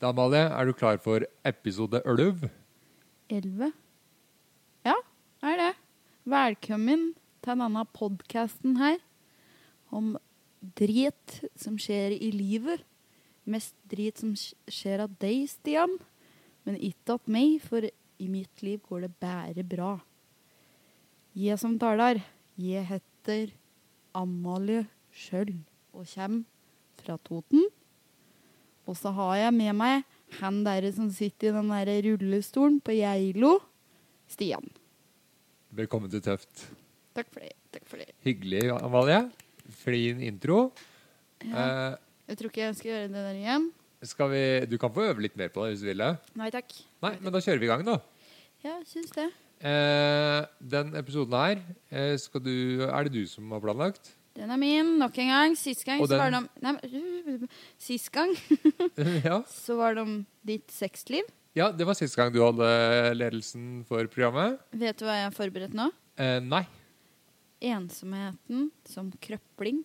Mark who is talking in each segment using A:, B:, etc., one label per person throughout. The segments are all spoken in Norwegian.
A: Da, Amalie, er du klar for episode 11?
B: 11? Ja, er det. Velkommen til denne podkasten her om drit som skjer i livet. Mest drit som sk- skjer av deg, Stian, men ikke av meg, for i mitt liv går det bare bra. Jeg som taler, jeg heter Amalie Skjøll og kommer fra Toten. Og så har jeg med meg han der som sitter i den der rullestolen på Geilo. Stian.
A: Velkommen til Tøft.
B: Takk for det. takk for det.
A: Hyggelig, Amalie. Flin intro. Eh,
B: Jeg tror ikke jeg skal gjøre det der igjen.
A: skal vi, du kan få øve litt mer på det hvis du vil det.
B: Nei takk.
A: Nei, men da kjører vi i gang, da.
B: Ja, syns det.
A: Eh, den episoden her eh, skal du, er det du som har planlagt.
B: Den er min nok en gang. Sist gang
A: Og
B: så var det
A: den-
B: om Nei, men- Sist gang
A: ja.
B: så var det om ditt sexliv.
A: ja, det var sist gang du hadde ledelsen for programmet.
B: Vet du hva jeg har forberedt nå?
A: Eh, nei.
B: Ensomheten som krøpling.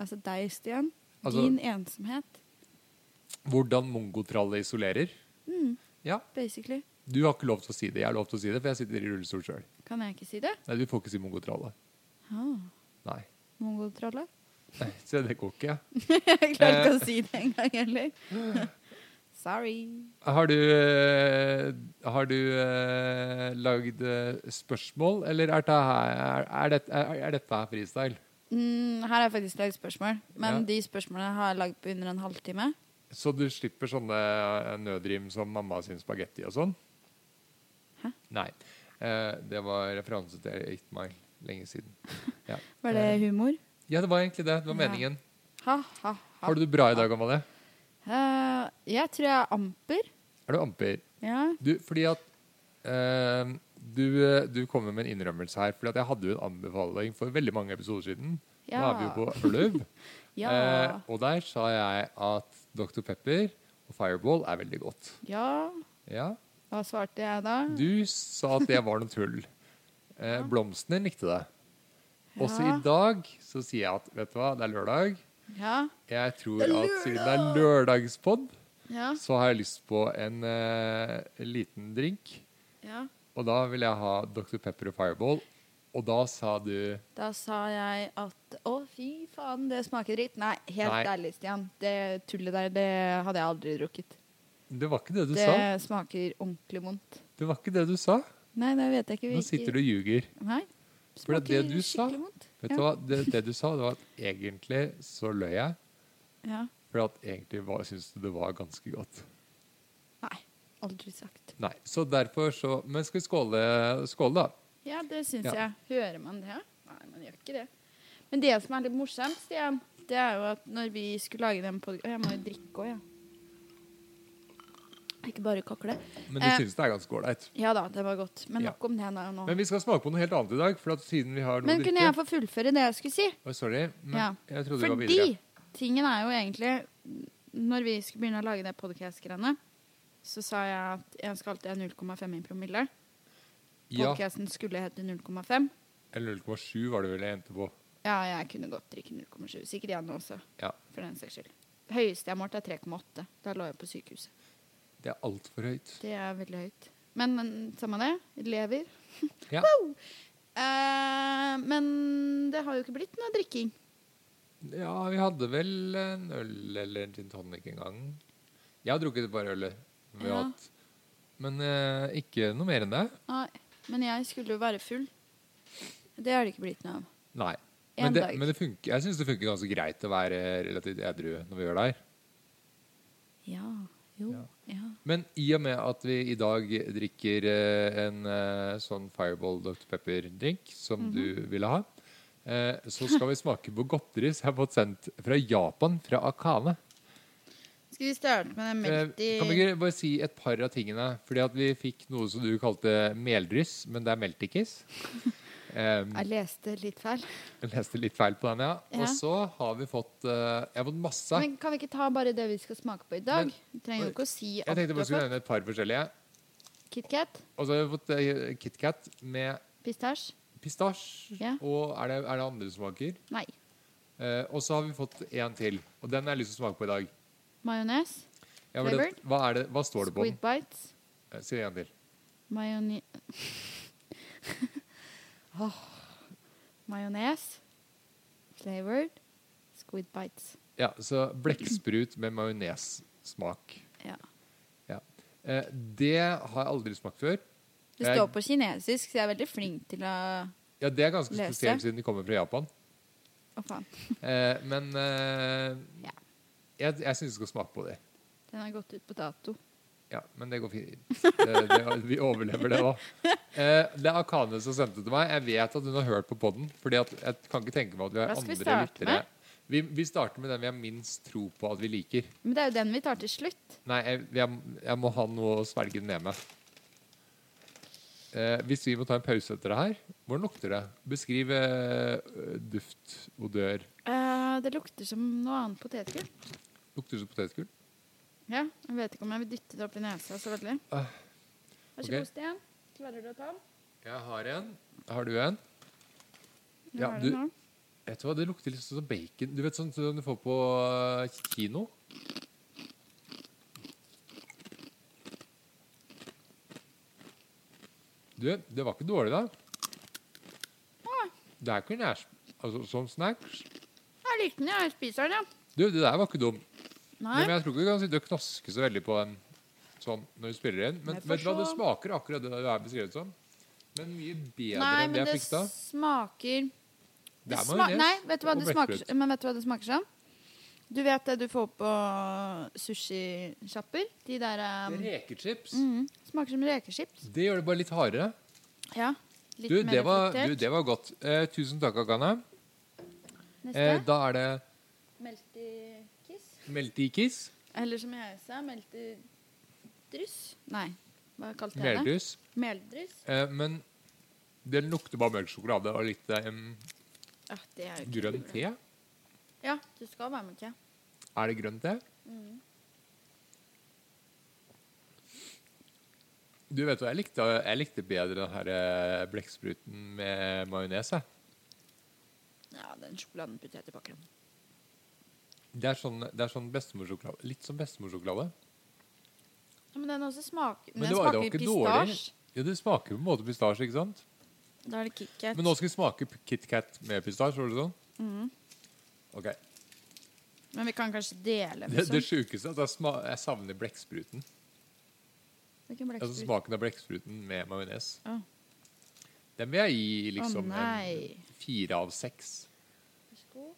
B: Altså deg, Stian.
A: Altså-
B: Din ensomhet,
A: Hvordan mongotralle isolerer. Ja.
B: Mm. basically.
A: Du har ikke lov til å si det. Jeg har lov til å si det, for jeg sitter i rullestol sjøl.
B: Kan jeg ikke si det?
A: Nei, du får ikke si mongotralle.
B: Ah,
A: Nei.
B: Mongotrolle?
A: Nei, så det går ikke.
B: Jeg klarer
A: Eh.
B: ikke å si det engang heller. Sorry.
A: Har du, eh, har du eh, lagd eh, spørsmål, eller er, det her, er, er, dette- er, er dette her freestyle?
B: Mm, her har jeg faktisk lagd spørsmål, men
A: Ja.
B: de spørsmålene har jeg lagd på under en halvtime.
A: Så du slipper sånne eh, nødrim som mamma sin spagetti og sånn?
B: Hæ?
A: Nei. Eh, det var referanse til 8 Mile lenge siden. Ja.
B: Var det
A: Eh,
B: humor?
A: ja, det var egentlig det. Det var
B: Ja.
A: meningen.
B: Ha, ha, ha.
A: Har du det bra i dag, Amalie?
B: Eh, jeg tror jeg amper.
A: Er du amper?
B: Ja.
A: Du, fordi at eh, du, du kommer med en innrømmelse her. Fordi at jeg hadde jo en anbefaling for veldig mange episoder siden. Nå
B: Ja.
A: er vi jo på Øløv.
B: Ja.
A: Eh, og der sa jeg at Dr. Pepper og Fireball er veldig godt.
B: ja.
A: Ja.
B: Hva svarte jeg da?
A: Du sa at det var noe tull. Eh, Blomstene likte det. Også
B: Ja.
A: i dag så sier jeg at vet du hva, det er lørdag.
B: Ja.
A: Jeg tror
B: Det er
A: at siden det er lørdagspod,
B: Ja.
A: så har jeg lyst på en eh, liten drink.
B: ja.
A: Og da vil jeg ha Dr. Pepper og Fireball. Og da sa du
B: Da sa jeg at å, fy faen, det smaker dritt. Nei, helt
A: Nei.
B: ærlig, Stian. Det tullet der, det hadde jeg aldri drukket.
A: Det var ikke det du sa.
B: det smaker ordentlig vondt.
A: Det var ikke det du sa.
B: Nei, det vet jeg ikke.
A: Nå sitter du og ljuger.
B: Nei.
A: For det er det du sa.
B: skikkelig vondt.
A: Vet du hva? Det, det du sa, det var at egentlig så løy jeg.
B: Ja.
A: For at egentlig var, syns du det var ganske godt.
B: Nei. Aldri sagt.
A: Nei, så derfor så Men skal vi skåle, skåle da?
B: Ja, det syns
A: Ja.
B: jeg. Hører man det? Nei, man gjør ikke det. Men det som er litt morsomt, Stian, det er jo at når vi skulle lage den podkasten Jeg må jo drikke òg, jeg. Ikke bare kakle.
A: Men du
B: Eh.
A: syns det er ganske ålreit.
B: Ja da, det var godt. Men
A: Ja.
B: nok om det nå.
A: Men
B: Men,
A: vi skal smake på noe helt annet i dag. For at siden vi har noe å
B: kunne
A: drikke
B: jeg få fullføre det jeg skulle si?
A: Oi, Sorry, men
B: Ja.
A: jeg trodde vi var
B: Fordi
A: videre.
B: tingen er jo egentlig Når vi skulle begynne å lage det podkast-greiene, så sa jeg at jeg skal alltid ha 0,5 i promille.
A: Ja,
B: Podkasten skulle hete 0,5.
A: eller 0,7 var det vel jeg endte på.
B: Ja, jeg kunne godt drikke 0,7. Sikkert Janne også,
A: Ja,
B: for den saks skyld. Høyeste jeg har målt, er 3,8. Da lå jeg på sykehuset.
A: Det er altfor høyt.
B: Det er veldig høyt. Men, men samme det. Lever.
A: Ja.
B: Wow! Eh, men det har jo ikke blitt noe drikking.
A: Ja, vi hadde vel en øl eller en gin tonic en gang. Jeg har drukket et par øler. vi har
B: Ja.
A: hatt. Men eh, ikke noe mer enn det.
B: Nei, men jeg skulle jo være full. Det har det ikke blitt noe av.
A: Nei.
B: En
A: Men, det,
B: dag.
A: men det funker, jeg syns det funker ganske greit å være relativt edru når vi gjør det her.
B: Ja. Jo.
A: Ja.
B: Ja.
A: Men i og med at vi i dag drikker eh, en eh, sånn Fireball Dr. Pepper-drink
B: Mhm.
A: som du ville ha, eh, så skal vi smake på godteri som jeg har fått sendt fra Japan, fra Akane.
B: Skal vi starte med den
A: Eh,
B: melty
A: Kan vi ikke bare si et par av tingene? Fordi at vi fikk noe som du kalte meldryss, men det er meltikis. Um,
B: Jeg leste litt feil.
A: jeg leste litt feil på den, ja.
B: Ja.
A: Og så har vi fått eh, Jeg har fått masse.
B: Men kan vi ikke ta bare det vi skal smake på i dag? Vi trenger jo ikke å si
A: Jeg
B: alt
A: tenkte
B: du
A: bare
B: har
A: skulle
B: fått.
A: nevne et par forskjellige.
B: KitKat,
A: Og så har vi fått eh, KitKat med
B: pistasje.
A: pistasje.
B: Ja.
A: Og er det, er det andre smaker?
B: Nei.
A: Eh, og så har vi fått en til. Og den har jeg lyst til å smake på i dag.
B: Majones.
A: Jeg Ja, men det,
B: Flavored?
A: hva, er det, hva står det på den?
B: Squid bites.
A: Eh, Si det en gang til.
B: Mayone... Åh. Majones. Flavored. Squid bites.
A: Ja, så blekksprut med majonessmak.
B: Ja.
A: Ja. Eh, det har jeg aldri smakt før.
B: Det
A: Jeg-
B: står på kinesisk, så jeg er veldig flink til å
A: Ja, det er ganske
B: Løse.
A: spesielt siden det kommer fra Japan.
B: Å, faen.
A: Eh, men eh,
B: Ja.
A: jeg, jeg syns du skal smake på det.
B: Den har gått ut på dato.
A: Ja, men det går fint. Det, det, vi overlever det òg. Eh, det er Akane som sendte det til meg. Jeg vet at hun har hørt på podden Fordi at jeg kan ikke tenke meg at vi har
B: Hva skal vi
A: andre
B: starte
A: lyttere.
B: med?
A: Vi, vi starter med den vi har minst tro på at vi liker.
B: Men det er jo den vi tar til slutt.
A: Nei, jeg, jeg, jeg må ha noe å svelge den ned med. Eh, hvis vi må ta en pause etter det her, hvordan lukter det? Beskriv eh, duft, odør.
B: Eh, det lukter som noe annet potetgull.
A: Lukter det som potetgull?
B: Ja, jeg vet ikke om jeg vil dytte det opp i nesa så veldig.
A: Ah,
B: Vær så
A: ok.
B: god, Stian. Klarer du å ta den?
A: Jeg har en. Har du en?
B: Nå
A: Ja,
B: har
A: du-
B: den nå.
A: Vet du hva, Det lukter litt sånn som bacon. Du vet sånn som du får på eh, kino? Du, det var ikke dårlig, da. Det er ikke nærs... Altså, som snacks.
B: Jeg liker den, ja. jeg spiser den, ja.
A: Du, det der var ikke dumt.
B: Nei.
A: Nei. Men jeg tror ikke du kan sitte og knaske så veldig på en sånn når du spiller inn. Men
B: Nei, for
A: vet du hva, det
B: så-
A: smaker akkurat det du er beskrevet som. Men mye bedre
B: Nei,
A: enn det
B: men
A: jeg
B: det
A: fikk da.
B: smaker
A: Det er
B: sma-
A: majones
B: Nei, vet du hva
A: og
B: det smaker
A: blekksprut.
B: som? Men vet du hva det smaker som? Du vet det du får på sushisjapper? De der um,
A: Rekechips.
B: mm, Smaker som rekechips.
A: Det gjør det bare litt hardere.
B: Ja. Litt
A: Du, det
B: mer
A: var,
B: fritert.
A: du, det var godt. Eh, tusen takk, Akane.
B: Neste.
A: Eh, da er det
B: Melty kiss.
A: meltikis,
B: Eller som jeg sa, melty dryss. Nei, hva kalte jeg det?
A: meldus.
B: Meldryss.
A: Eh, men den lukter bare mørk sjokolade og litt eh,
B: Ah, det er jo ikke
A: grønn
B: mulig.
A: te.
B: Ja, du skal være med te.
A: Er det grønn te?
B: Mm.
A: Du vet hva, jeg likte, jeg likte bedre den her eh, blekkspruten med majones. jeg.
B: Ja, den sjokoladen putter jeg tilbake.
A: Det er sånn, det er sånn bestemorsjokolade. Litt som bestemorsjokolade.
B: Ja, men den også smaker Men,
A: Men
B: den
A: det var jo
B: smaker
A: ikke dårlig.
B: pistasje.
A: Ja, det smaker på en måte pistasje, ikke sant?
B: Da er det KitKat.
A: Men nå skal vi smake p- KitKat med pistasje, var det sånn?
B: Mm.
A: Ok.
B: Men vi kan kanskje dele
A: Det,
B: med
A: det
B: sånn.
A: sjukeste er at jeg, sma, jeg savner blekkspruten.
B: Hvilken
A: Altså
B: blekksprut?
A: smaken av blekkspruten med majones.
B: Ah.
A: Den vil jeg gi
B: Å,
A: liksom
B: nei.
A: en fire av seks.
B: Vær så god.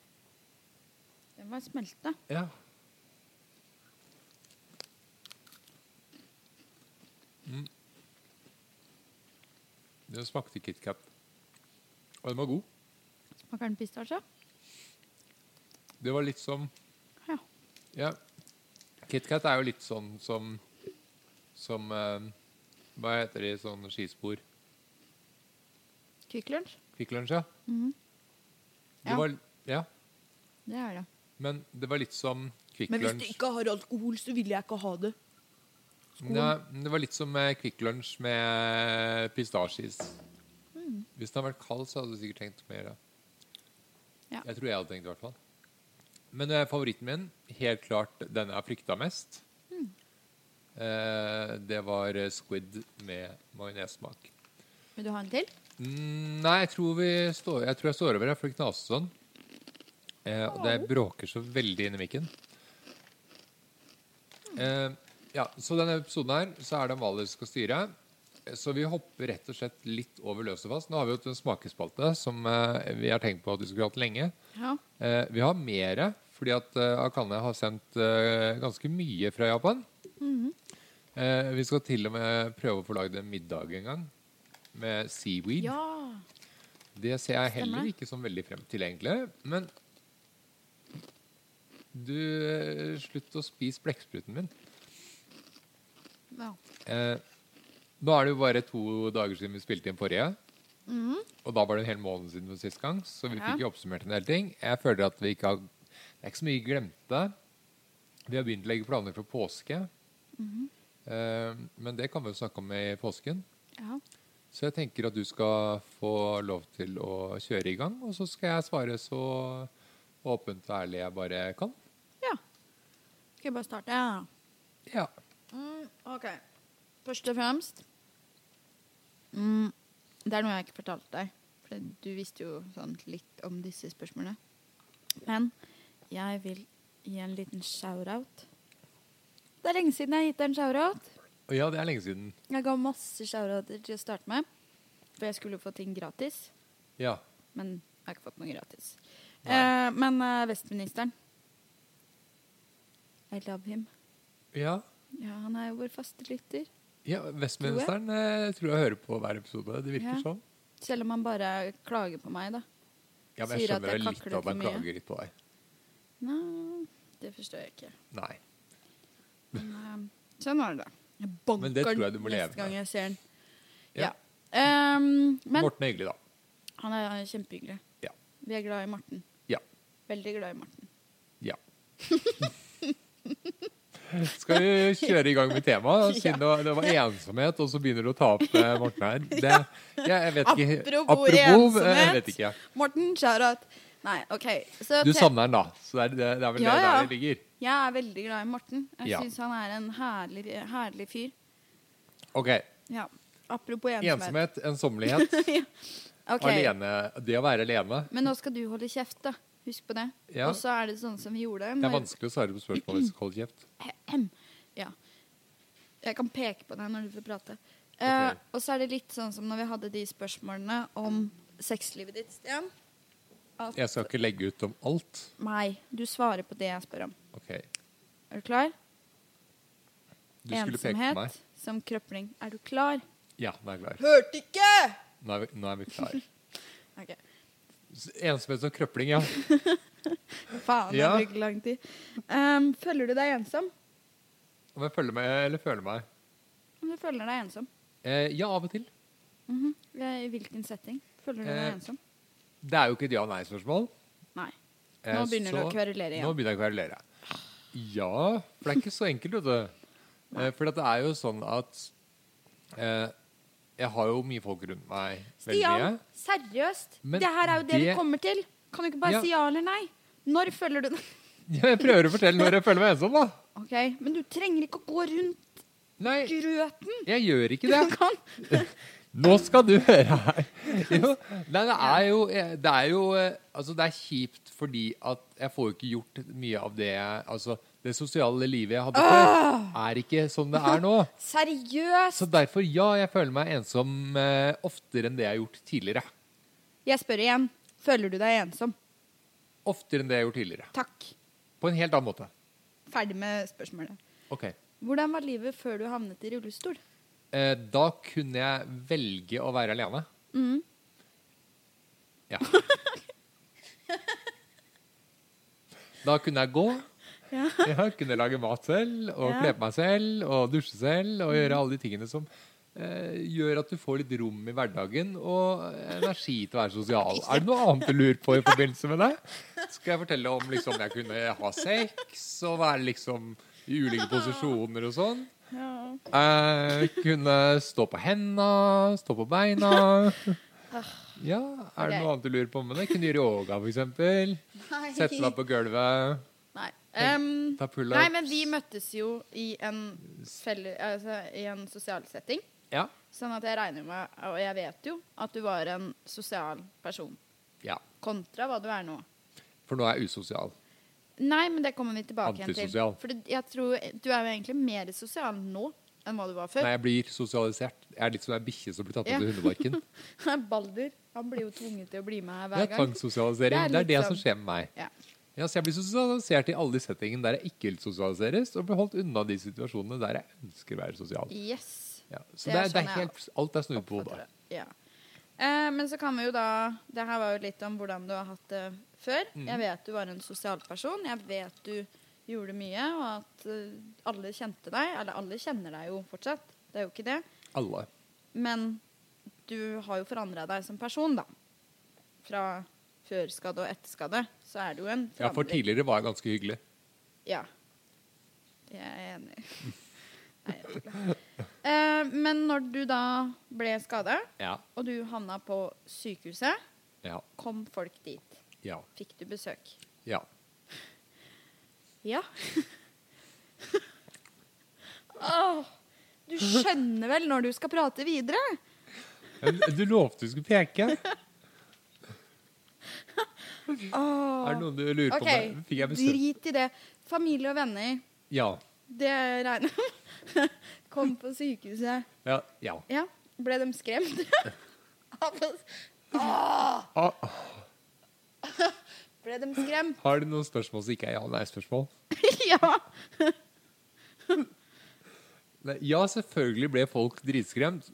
B: Den var smelta.
A: Ja. Mm. Den smakte KitKat. Og den var god.
B: Smaker den pistasje?
A: Det var litt som
B: Ja.
A: Ja. KitKat er jo litt sånn som Som eh, Hva heter det i sånne skispor?
B: Kvikk Lunsj?
A: Kvikk Lunsj, ja.
C: Mm-hmm.
A: Det
B: Ja.
A: var Ja.
B: Det er det.
A: Men det var litt som Kvikk
C: Men hvis du
A: Lunsj
C: ikke har alkohol, så vil jeg ikke ha det.
A: Nei, men Det var litt som eh, Kvikk Lunsj med pistasjeis. Hvis den hadde vært kald, så hadde du sikkert tenkt mer. da.
B: Ja.
A: Jeg tror jeg hadde tenkt i hvert fall. Men eh, favoritten min, helt klart den jeg har frykta mest, eh, det var eh, squid med majonessmak.
B: Vil du ha en til?
A: Mm, nei, jeg tror, vi står, jeg tror jeg står over, jeg, for det knaser sånn. Eh, og det bråker så veldig inni mikken. Eh, ja, så denne episoden her, så er det Amalie som skal styre. Eh, Så vi hopper rett og slett litt over løs og fast. Nå har vi jo hatt en smakespalte som eh, vi har tenkt på at vi skulle hatt lenge.
B: Ja.
A: Eh, vi har mere, fordi at eh, Akane har sendt eh, ganske mye fra Japan. eh, vi skal til og med prøve å få lagd en middag en gang med seaweed.
B: ja.
A: Det ser jeg heller
B: Stemmer.
A: ikke som veldig frem til, egentlig. Men du eh, Slutt å spise blekkspruten min.
B: ja.
A: Eh, nå er det jo bare to dager siden vi spilte inn forrige. Og da var det en hel måned siden sist gang, så vi
B: Mhm. Ja.
A: fikk jo oppsummert en del ting. Jeg føler at vi ikke har Det er ikke så mye vi glemte. Vi har begynt å legge planer for påske.
B: Mhm.
A: Eh, men det kan vi jo snakke om i påsken.
B: ja.
A: Så jeg tenker at du skal få lov til å kjøre i gang, og så skal jeg svare så åpent og ærlig jeg bare kan.
B: Skal jeg bare starte? Ja.
A: Ja.
B: Mm, ok. Først og fremst mm, Det er noe jeg ikke fortalte deg. For du visste jo sånn litt om disse spørsmålene. Men jeg vil gi en liten shout-out. Det er lenge siden jeg har gitt deg en shout-out.
A: Og ja, det er lenge siden.
B: Jeg ga masse shout-outer til å starte med. For jeg skulle jo få ting gratis.
A: Ja.
B: Men jeg har ikke fått noe gratis.
A: Nei.
B: Eh, men eh, vestministeren I love him.
A: Ja,
B: Ja, han er jo vår faste lytter.
A: ja Vestministeren eh, tror jeg hører på hver episode. Det virker
B: Ja.
A: sånn.
B: Selv om han bare klager på meg, da.
A: Ja, men jeg
B: Sier at
A: skjønner
B: jeg
A: vel litt
B: kakler
A: at han
B: for mye.
A: klager litt på deg.
B: Nei, det forstår jeg ikke.
A: Nei.
B: Men, eh, sånn var det, da. Jeg banker
A: Men det tror jeg du må
B: den
A: leve
B: neste gang
A: med.
B: jeg ser han.
A: Ja.
B: Ja. Ehm, men
A: Morten er hyggelig, da.
B: han er han er kjempehyggelig.
A: Ja.
B: Vi er glad i Morten.
A: Ja.
B: Veldig glad i Morten.
A: Ja. Skal vi kjøre i gang med temaet? Siden det var- det var ensomhet, og så begynner du å ta opp eh, Morten her. Det, jeg, jeg vet ikke.
B: Apropos
A: eh, Jeg
B: ensomhet.
A: vet ikke.
B: Morten, shout-out. Nei, OK. Så
A: Du
B: te-
A: savner den, da. Så det er, det, det er vel
B: Ja,
A: det
B: ja.
A: der det ligger.
B: Jeg er veldig glad i Morten. Jeg
A: Ja.
B: synes syns han er en herlig, herlig fyr.
A: OK.
B: Ja. Apropos ensomhet.
A: Ensomhet, ensommelighet,
B: Ok.
A: alene. Det å være alene.
B: Men nå skal du holde kjeft, da. Husk på det.
A: Ja.
B: Og så er det sånn som vi gjorde
A: Det er
B: når-
A: vanskelig å svare på spørsmål hvis du holder kjeft.
B: Ahem. Ja. Jeg kan peke på deg når du får prate. Eh,
A: Ok.
B: og så er det litt sånn som når vi hadde de spørsmålene om sexlivet ditt, Stian. At
A: Jeg skal ikke legge ut om alt.
B: Nei, du svarer på det jeg spør om.
A: OK.
B: Er du klar?
A: Du skulle peke på meg.
B: som krøpling. Er du klar?
A: Ja, nå er jeg klar.
C: Hørte ikke!
A: Nå er vi, nå er vi klar.
B: Ok.
A: S- Ensomhet som krøpling, ja.
B: Faen,
A: Ja.
B: det bruker lang tid. Ehm, føler du deg ensom?
A: Om jeg føler meg eller føler meg?
B: Om du føler deg ensom?
A: Eh, ja, av og til.
B: Mhm. Eh, I hvilken setting føler du deg
A: Eh,
B: ensom?
A: Det er jo ikke et ja-nei-spørsmål.
B: Nei.
A: Eh,
B: Nå begynner du å kverulere igjen.
A: Nå begynner jeg å kverulere. Ja, for det er ikke så enkelt, vet du. Eh, for det er jo sånn at eh, jeg har jo mye folk rundt meg. veldig mye.
B: Stian, seriøst?
A: Men
B: det her er jo det, vi
A: det-
B: kommer til. Kan du ikke bare
A: Ja.
B: si ja eller nei? Når føler du det?
A: Ja, jeg prøver å fortelle når jeg føler meg ensom, da.
B: Ok, Men du trenger ikke å gå rundt
A: Nei,
B: grøten.
A: jeg gjør ikke
B: Du
A: det.
B: kan
A: Nå skal du høre her. Jo, nei, det er jo, det er jo eh, Altså, det er kjipt fordi at jeg får jo ikke gjort mye av det jeg Altså, det sosiale livet jeg hadde før,
B: Ah!
A: er ikke som det er nå.
B: Seriøst?
A: Så derfor, ja, jeg føler meg ensom eh, oftere enn det jeg har gjort tidligere.
B: Jeg spør igjen. Føler du deg ensom?
A: Oftere enn det jeg har gjort tidligere.
B: Takk.
A: På en helt annen måte.
B: Ferdig med spørsmålet.
A: Ok.
B: Hvordan var livet før du havnet i rullestol?
A: Eh, da kunne jeg velge å være alene.
B: Mhm.
A: Ja. Da kunne jeg gå.
B: Ja.
A: Jeg kunne lage mat selv, og
B: Ja.
A: kle på meg selv, og dusje selv, og gjøre alle de tingene som eh, gjør at du får litt rom i hverdagen og energi til å være sosial. Er det noe annet du lurer på i forbindelse med det? Skal jeg fortelle om liksom, jeg kunne ha sex og være liksom i ulike posisjoner og sånn?
B: Ja.
A: Eh, kunne stå på henda, stå på beina. Ja, er det
B: Ah. Ok.
A: noe annet du lurer på med det? Kunne gjøre yoga, for eksempel. Sette deg på gulvet,
B: Nei. Ehm,
A: ta
B: nei,
A: pull-up.
B: men vi møttes jo i en, felle, altså, i en sosial setting.
A: Ja.
B: Sånn at jeg regner med, og jeg vet jo, at du var en sosial person.
A: ja.
B: Kontra hva du er nå.
A: For nå er jeg usosial.
B: Nei, men det kommer vi tilbake igjen til.
A: Antisosial.
B: For det- jeg tror du er jo egentlig mer sosial nå enn hva du var
A: Nei,
B: før.
A: jeg blir sosialisert. Jeg er litt som ei bikkje som blir tatt
B: Ja.
A: med til hundeparken.
B: Balder han blir jo tvunget til å bli med her
A: Det
B: hver
A: er
B: gang.
A: tvangssosialisering.
B: Det
A: Det
B: er
A: er det
B: litt
A: som
B: sånn.
A: skjer med meg.
B: Ja.
A: Ja, så jeg blir sosialisert i alle de settingene der jeg ikke vil sosialiseres, og blir holdt unna de situasjonene der jeg ønsker å være sosial.
B: Yes.
A: Ja. Så
B: Det
A: det
B: er
A: er, det
B: sånn
A: er
B: jeg
A: helt, alt er snudd på hodet.
B: Fatter du? Ja. Eh, men så kan vi jo da Det her var jo litt om hvordan du har hatt det før. Jeg vet du var en sosial person. Jeg vet du gjorde mye, og at eh, alle kjente deg. Eller alle kjenner deg jo fortsatt. Det er jo ikke det.
A: Alle.
B: Men du har jo forandra deg som person, da. Fra før skade og etter skade, så er det jo en
A: Ja, for
B: forandring.
A: tidligere var jeg ganske hyggelig.
B: Ja. Jeg er enig. Nei, jeg vet ikke. Eh, men når du da ble skada,
A: Ja.
B: og du havna på sykehuset,
A: Ja.
B: kom folk dit.
A: Ja.
B: Fikk du besøk?
A: Ja.
B: Ja. skjønner vel når du skal prate videre?
A: Men Du lovte du skulle peke. Er det noen du lurer
B: OK,
A: på? om jeg- Fikk jeg besøk?
B: drit i det. Familie og venner,
A: Ja.
B: det regner jeg med. Kom på sykehuset.
A: Ja. ja.
B: Ja, ble de skremt? Av oss?
A: Ah,
B: ble de skremt?
A: har du noen spørsmål som ikke er ja-nei-spørsmål?
B: ja.
A: Nei, Ja, selvfølgelig ble folk dritskremt.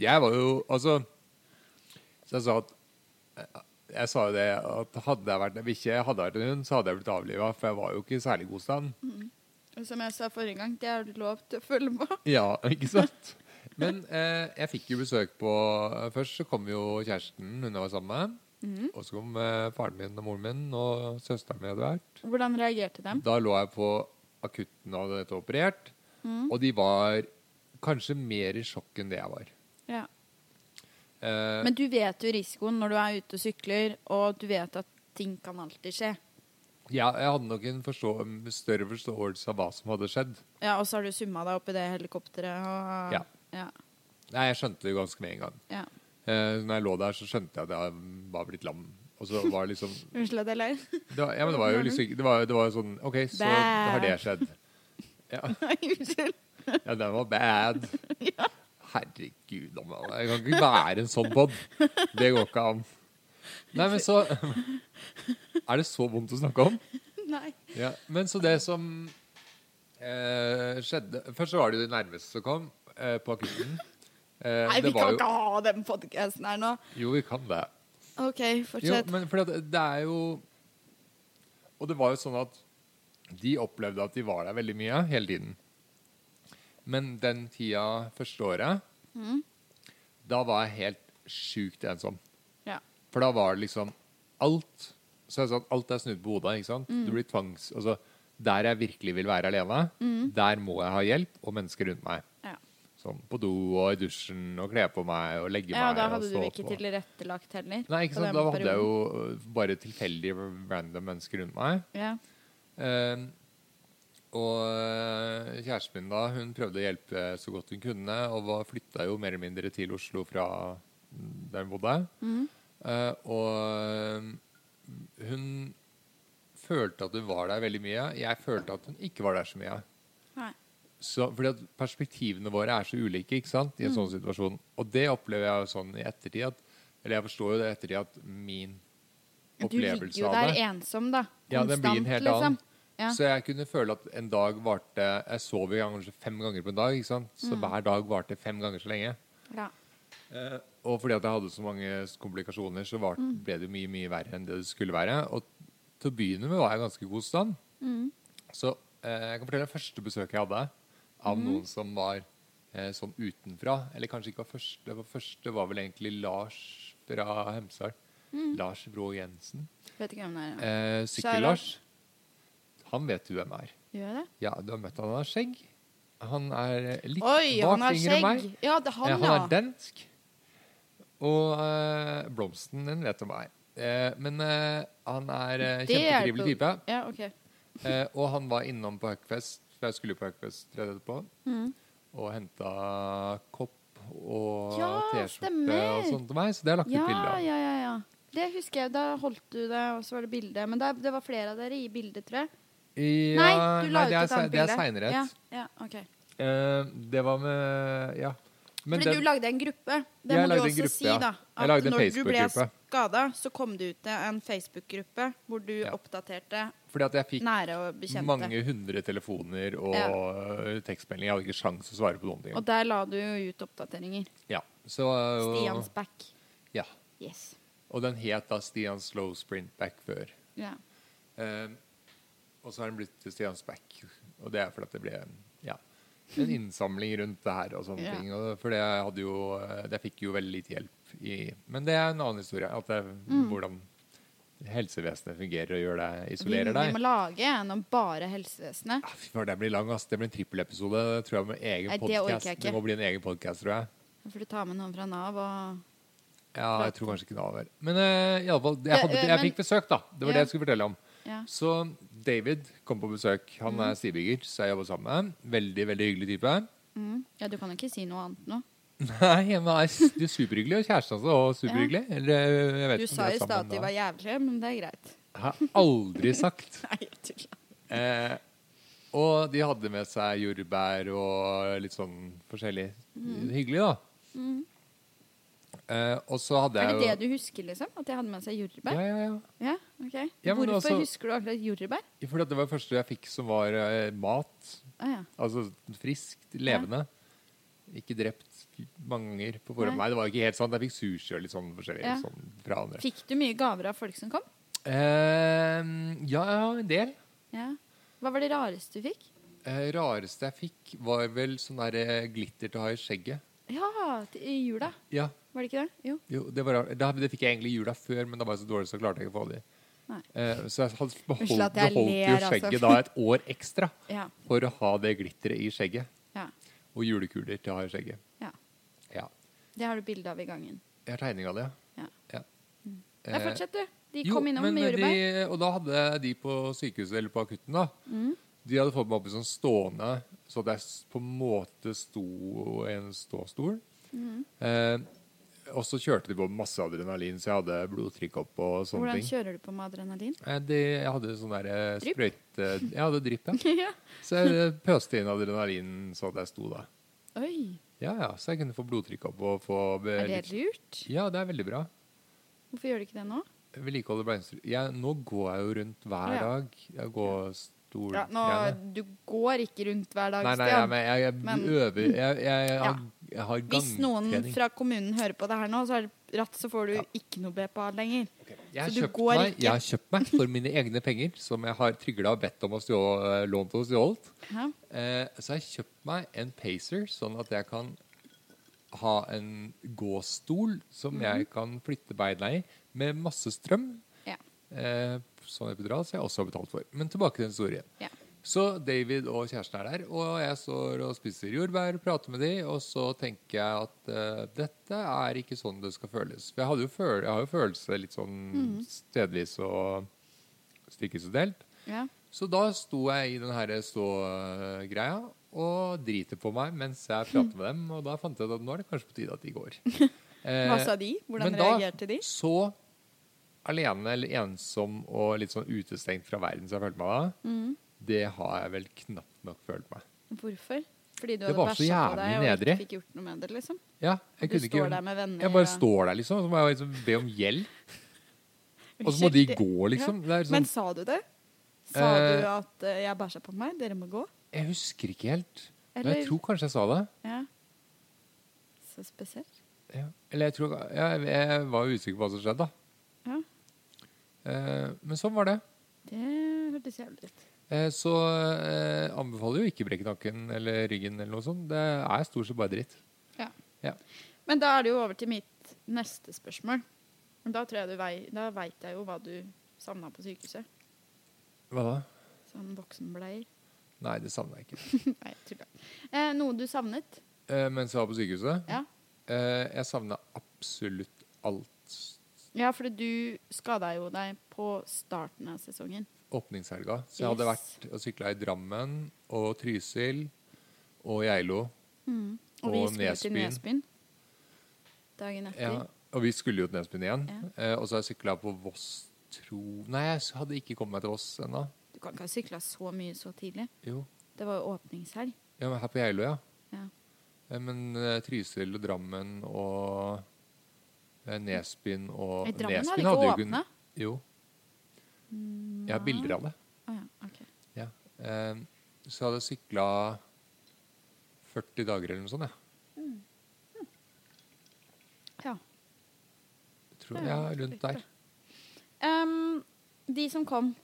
A: Jeg var jo Altså Så jeg sa at Jeg sa jo det at hadde jeg vært en bikkje, hadde jeg vært en hund, så hadde jeg blitt avliva, for jeg var jo ikke i særlig god stand.
B: Som jeg sa forrige gang, det har du lov til å følge med.
A: Ja, ikke sant? Men eh, jeg fikk jo besøk på eh, Først så kom jo kjæresten hun jeg var sammen med. Og så kom eh, faren min og moren min og søsteren min hadde vært.
B: Hvordan reagerte de?
A: Da lå jeg på akutten og hadde nettopp operert. Og de var kanskje mer i sjokk enn det jeg var.
B: Ja.
A: Eh,
B: Men du vet jo risikoen når du er ute og sykler, og du vet at ting kan alltid skje.
A: Ja, jeg hadde nok en forstå større forståelse av hva som hadde skjedd.
B: Ja, Og så har du summa deg opp i det helikopteret og
A: Ja.
B: ja.
A: Nei, Jeg skjønte det jo ganske med en gang.
B: ja.
A: Eh, når jeg lå der, så skjønte jeg at jeg var blitt lam. Og så var det liksom
B: Unnskyld at jeg ler.
A: det var, Ja, men det var jo liksom ikke- Det var jo det var jo sånn OK, så har det skjedd. Ja,
B: Nei, Unnskyld.
A: ja den var bad. Herregud, da, mann. Jeg kan ikke være en sånn pod. Det går ikke an. Nei, men så Er det så vondt å snakke om?
B: Nei.
A: Ja, men så det som eh, skjedde Først så var det jo de nærmeste som kom eh, på akutten. Eh,
B: Nei,
A: det
B: vi
A: var
B: kan
A: jo,
B: ikke ha den podkasten her nå.
A: Jo, vi kan det.
B: OK,
A: Jo,
B: fortsett.
A: men fordi at det er jo Og det var jo sånn at de opplevde at de var der veldig mye hele tiden. Men den tida første året,
B: Mm.
A: da var jeg helt sjukt ensom.
B: Ja.
A: For da var det liksom alt Så jeg sa at alt er snudd på hodet. ikke sant?
B: Mm.
A: Du blir tvangs... Altså, der jeg virkelig vil være alene,
B: Mm.
A: der må jeg ha hjelp og mennesker rundt meg.
B: Ja.
A: Sånn på do og i dusjen og kle på meg og legge
B: ja,
A: meg.
B: da
A: og
B: hadde du
A: stå
B: ikke
A: opp og-
B: tilrettelagt heller.
A: Nei, ikke
B: på
A: sant?
B: den
A: Da hadde jeg
B: perioden.
A: jo øh, bare tilfeldige random mennesker rundt meg.
B: ja.
A: Eh, og eh, kjæresten min da, hun prøvde å hjelpe så godt hun kunne, og var- flytta jo mer eller mindre til Oslo fra mm, der hun bodde.
B: Mhm.
A: Eh, og eh, hun følte at hun var der veldig mye. Jeg følte at hun ikke var der så mye.
B: Nei.
A: Så, fordi at perspektivene våre er så ulike ikke sant,
B: Mm.
A: i en sånn situasjon. Og det opplever jeg jo sånn i ettertid at Eller jeg forstår jo det i ettertid at min
B: Du ligger
A: opplevelse
B: jo
A: av
B: der
A: det
B: ensom, da.
A: ja, den blir en
B: Konstant,
A: helt
B: liksom.
A: annen.
B: Ja.
A: Så jeg kunne føle at en dag varte Jeg sov jo kanskje fem ganger på en dag, ikke sant?
B: Mm.
A: så hver dag varte fem ganger så lenge.
B: Ja.
A: Og fordi at jeg hadde så mange komplikasjoner, så var,
B: Mm.
A: ble det mye mye verre enn det det skulle være. Og til å begynne med var jeg i ganske god stand.
B: Mm.
A: Så eh, jeg kan fortelle det første besøket jeg hadde av
B: Mm.
A: noen som var eh, sånn utenfra. Eller kanskje ikke var første. Det var første var vel egentlig Lars fra Hemsedal.
B: Mm.
A: Lars Brå Jensen.
B: Vet ikke hvem det er. Ja.
A: Eh, Sykkel-Lars. Han vet du hvem er.
B: Gjør jeg det?
A: Ja, du har møtt han. Han har skjegg. Han er eh, litt
B: Oi, han har
A: vagt yngre enn meg.
B: skjegg! Ja, det er
A: Eh,
B: han,
A: han
B: ja.
A: er dansk. Og eh, blomsten, den vet om meg. Eh, men eh, han er eh,
B: Det er
A: kjempetrivelig type.
B: Ja, ok.
A: Eh, og han var innom på Huckfest, for jeg skulle på Huckfest rett etterpå,
B: Mm.
A: og henta kopp og
B: Ja,
A: T-skjorte
B: stemmer.
A: og sånt til meg, så det har jeg lagt ut
B: Ja,
A: bilde av.
B: ja, ja, ja. Det husker jeg. Da holdt du det, og så var det bilde. Men da, det var flere av dere i bildet, tror jeg.
A: Ja,
B: nei, du la
A: nei, det
B: ut
A: er
B: et
A: se-
B: annet
A: Det
B: bilde.
A: er seinere.
B: Ja, ja, ok.
A: Eh, det var med Ja. Men
B: Fordi
A: den-
B: du lagde en gruppe. Det
A: Jeg
B: må du
A: lagde en
B: også
A: gruppe,
B: si,
A: ja.
B: da.
A: Jeg lagde en
B: når du ble
A: Facebook-gruppe.
B: skada, så kom det ut en Facebook-gruppe hvor du
A: Ja.
B: oppdaterte
A: Fordi at jeg fikk
B: nære og bekjente.
A: mange hundre telefoner og eh, tekstmeldinger. Jeg hadde ikke sjans å svare på noen ting.
B: Og der la du jo ut oppdateringer.
A: Ja, så, og,
B: Stians back.
A: Ja.
B: Yes.
A: Og den het da Stian Slow Sprint Back før.
B: Ja.
A: Eh, og så har den blitt til Stians Back. Og det er fordi at det ble ja, en innsamling rundt det her og sånne
B: Ja.
A: ting. Og for det hadde jo eh, Jeg fikk jo veldig lite hjelp i Men det er en annen historie. At det, er
B: Mm.
A: Hvordan helsevesenet fungerer og gjør deg
B: Vi,
A: isolerer
B: vi
A: deg.
B: må lage en om bare helsevesenet.
A: Ah, Fy faen, det blir lang, ass. Det blir en trippelepisode. Det tror jeg med egen
B: Nei, det orker jeg
A: podcast.
B: ikke.
A: Det må bli en egen podcast, tror jeg.
B: For du tar med noen fra Nav og
A: Ja, jeg tror kanskje ikke det var Men eh, i alle fall, jeg, hadde,
B: Ja, eh,
A: jeg
B: men-
A: fikk besøk, da. Det var
B: Ja.
A: det jeg skulle fortelle om.
B: Ja.
A: Så David kom på besøk. Han er stivbygger, så jeg jobber sammen med. Veldig, veldig hyggelig type.
B: Mm. Ja, du kan jo ikke si noe annet nå.
A: Nei, men nei, s- du er superhyggelig, og kjæresten også var superhyggelig. Eller, eh, jeg vet
B: Du
A: ikke om de
B: sa i
A: er
B: stad
A: sammen
B: at de
A: da.
B: var jævlige, men det er greit.
A: Har jeg aldri sagt.
B: Nei, jeg tuller.
A: Eh, og de hadde med seg jordbær og litt sånn forskjellig.
B: Mm.
A: Hyggelig, da. Eh, og så hadde
B: Er
A: jeg
B: det det du husker, liksom? At jeg hadde med seg
A: Ja,
B: jordbær?
A: ja, ja.
B: Ja, ok.
A: Ja, men
B: Hvorfor
A: altså-
B: husker du akkurat jordbær?
A: For det var det første jeg fikk som var eh, mat.
B: Ah, ja.
A: Altså friskt, levende. Ikke drept mange ganger på forhånd.
B: Nei.
A: Nei, det var ikke helt sånn. Jeg fikk sushi og litt sånn forskjellig
B: Ja.
A: sånn fra andre.
B: Fikk du mye gaver av folk som kom?
A: Eh, ja, en del.
B: Ja. Hva var det rareste du fikk?
A: Eh, rareste jeg fikk, var vel sånn der eh, glitter til å ha i skjegget.
B: Ja, til- i jula.
A: Ja,
B: Var det ikke det? Jo.
A: jo, det, var rart. det, det fikk jeg egentlig i jula før, men da var jeg så dårlig, så klarte jeg ikke å få det.
B: Nei.
A: Eh, så jeg hadde beholdt,
B: Unnskyld at jeg
A: beholdt jo
B: ler, altså.
A: skjegget da et år ekstra
B: Ja.
A: for å ha det glitteret i skjegget.
B: ja.
A: Og julekuler til å ha i skjegget.
B: ja.
A: Ja.
B: Det har du bilde av i gangen.
A: Jeg har tegning av det,
B: Ja.
A: ja.
B: Nei,
A: Eh,
B: fortsett, du. De
A: jo,
B: kom innom
A: men eh,
B: med jordbær.
A: De, og da hadde de på sykehuset eller på akutten da,
B: Mm.
A: de hadde fått meg opp i sånn stående, så at jeg s- på en måte sto i en ståstol.
B: Mm.
A: Eh, og så kjørte de på masse adrenalin, så jeg hadde blodtrykk opp og sånne
B: Hvordan
A: ting.
B: kjører du på med adrenalin?
A: Eh, de, jeg hadde sånn der eh,
B: Drypp?
A: sprøyte... Jeg hadde drypp, ja.
B: ja.
A: Så jeg eh, pøste inn adrenalin så at jeg sto da.
B: Oi,
A: Ja, ja, så jeg kunne få blodtrykk opp og få... be-
B: er det
A: litt-
B: lurt?
A: Ja, det er veldig bra.
B: Hvorfor gjør du ikke det nå?
A: Vedlikeholdet ble instru... Jeg, nå går jeg jo rundt hver
B: Ja.
A: dag. Jeg går stor
B: Ja, nå,
A: greiene.
B: du går ikke rundt hver dag,
A: Nei, nei, jeg,
B: Stian.
A: men jeg, jeg
B: Men-
A: øver Jeg, jeg, jeg, har- jeg har
B: Hvis noen
A: gangtrening.
B: fra kommunen hører på det her nå, så er det ratt, så får du
A: Ja.
B: ikke noe BPA lenger.
A: Jeg har
B: så du
A: kjøpt
B: går
A: meg,
B: ikke.
A: jeg har kjøpt meg for mine egne penger, som jeg har trygla og bedt om å stjå, eh, lånt og stjålet.
B: Ja.
A: Eh, så jeg har kjøpt meg en pacer, sånn at jeg kan ha en gåstol som
B: Mhm.
A: jeg kan flytte beina i, med masse strøm.
B: Ja.
A: Eh, sånn epidural, som jeg også har betalt for. Men tilbake til historien.
B: Ja.
A: Så David og kjæresten er der, og jeg står og spiser jordbær og prater med de, og så tenker jeg at eh, dette er ikke sånn det skal føles. For jeg, hadde jo føl jeg har jo følelse litt sånn
B: Mhm.
A: stedvis og stykkes og delt.
B: Ja.
A: Så da sto jeg i den her stå-greia og driter på meg mens jeg prater med dem, og da fant jeg ut at nå er det kanskje på tide at de går.
B: Hva
A: Eh,
B: sa de? Hvordan
A: men da-
B: reagerte de?
A: så alene eller ensom og litt sånn utestengt fra verden som jeg følte meg da,
B: Mm.
A: det har jeg vel knapt nok følt meg.
B: Hvorfor? Fordi du
A: Det
B: hadde
A: var så
B: bæsja
A: jævlig
B: på deg og
A: nedrig.
B: ikke fikk gjort noe med det, liksom?
A: Ja, jeg
B: Du
A: kunne ikke
B: står
A: gjøre
B: der
A: noe.
B: med venner
A: Jeg bare
B: og-
A: står der, liksom, og så må jeg liksom be om hjelp. Og så må de
B: Unnskyld,
A: gå, liksom. Det er
B: Ja. Men
A: sånn,
B: sa du det? Sa du
A: Eh,
B: at eh, 'jeg bæsja på meg, dere må gå'?
A: jeg husker ikke helt. Men
B: Eller-
A: jeg tror kanskje jeg sa det.
B: Ja. Så spesielt.
A: Ja. Eller jeg tror Jeg, jeg var usikker på hva som skjedde, da.
B: Ja.
A: Eh, men sånn var det.
B: Det hørtes jævlig ut.
A: Eh, så eh, anbefaler jo ikke brekke nakken eller ryggen eller noe sånt. Det er stort sett bare dritt.
B: Ja.
A: Ja.
B: Men da er det jo over til mitt neste spørsmål. Da tror jeg du vei, da veit jeg jo hva du savna på sykehuset.
A: Hva da?
B: Sånn voksenbleier.
A: Nei, det savner jeg ikke.
B: Nei, jeg tuller. Eh, noe du savnet?
A: Eh, mens jeg var på sykehuset.
B: Ja.
A: Eh, jeg savna absolutt alt.
B: Ja, for du skada jo deg på starten av sesongen.
A: Åpningshelga. Så jeg hadde
B: Yes.
A: vært og sykla i Drammen og Trysil og Geilo.
B: Og, vi
A: Og
B: skulle til
A: Nesbyen.
B: Nesbyen dagen
A: Ja,
B: etter.
A: og vi skulle jo til Nesbyen igjen.
B: Ja.
A: Eh, og så har jeg sykla på Voss, tro Nei, jeg s- hadde ikke kommet meg til Voss ennå.
B: Du kan ikke ha sykla så mye så tidlig.
A: Jo.
B: Det var jo åpningshelg.
A: Ja, men her på Geilo, ja.
B: Ja.
A: Eh, Men eh, Trysil og Drammen og eh, Nesbyen og
B: Nei, Drammen hadde
A: Nesbyen
B: ikke
A: jo kun-
B: åpnet.
A: Jo. Jeg har bilder av det.
B: Å ja, ok.
A: Ja. Eh, så hadde jeg sykla 40 dager eller noe sånt, jeg.
B: Ja.
A: Tror, ja, rundt der.
B: Ehm, de som kom,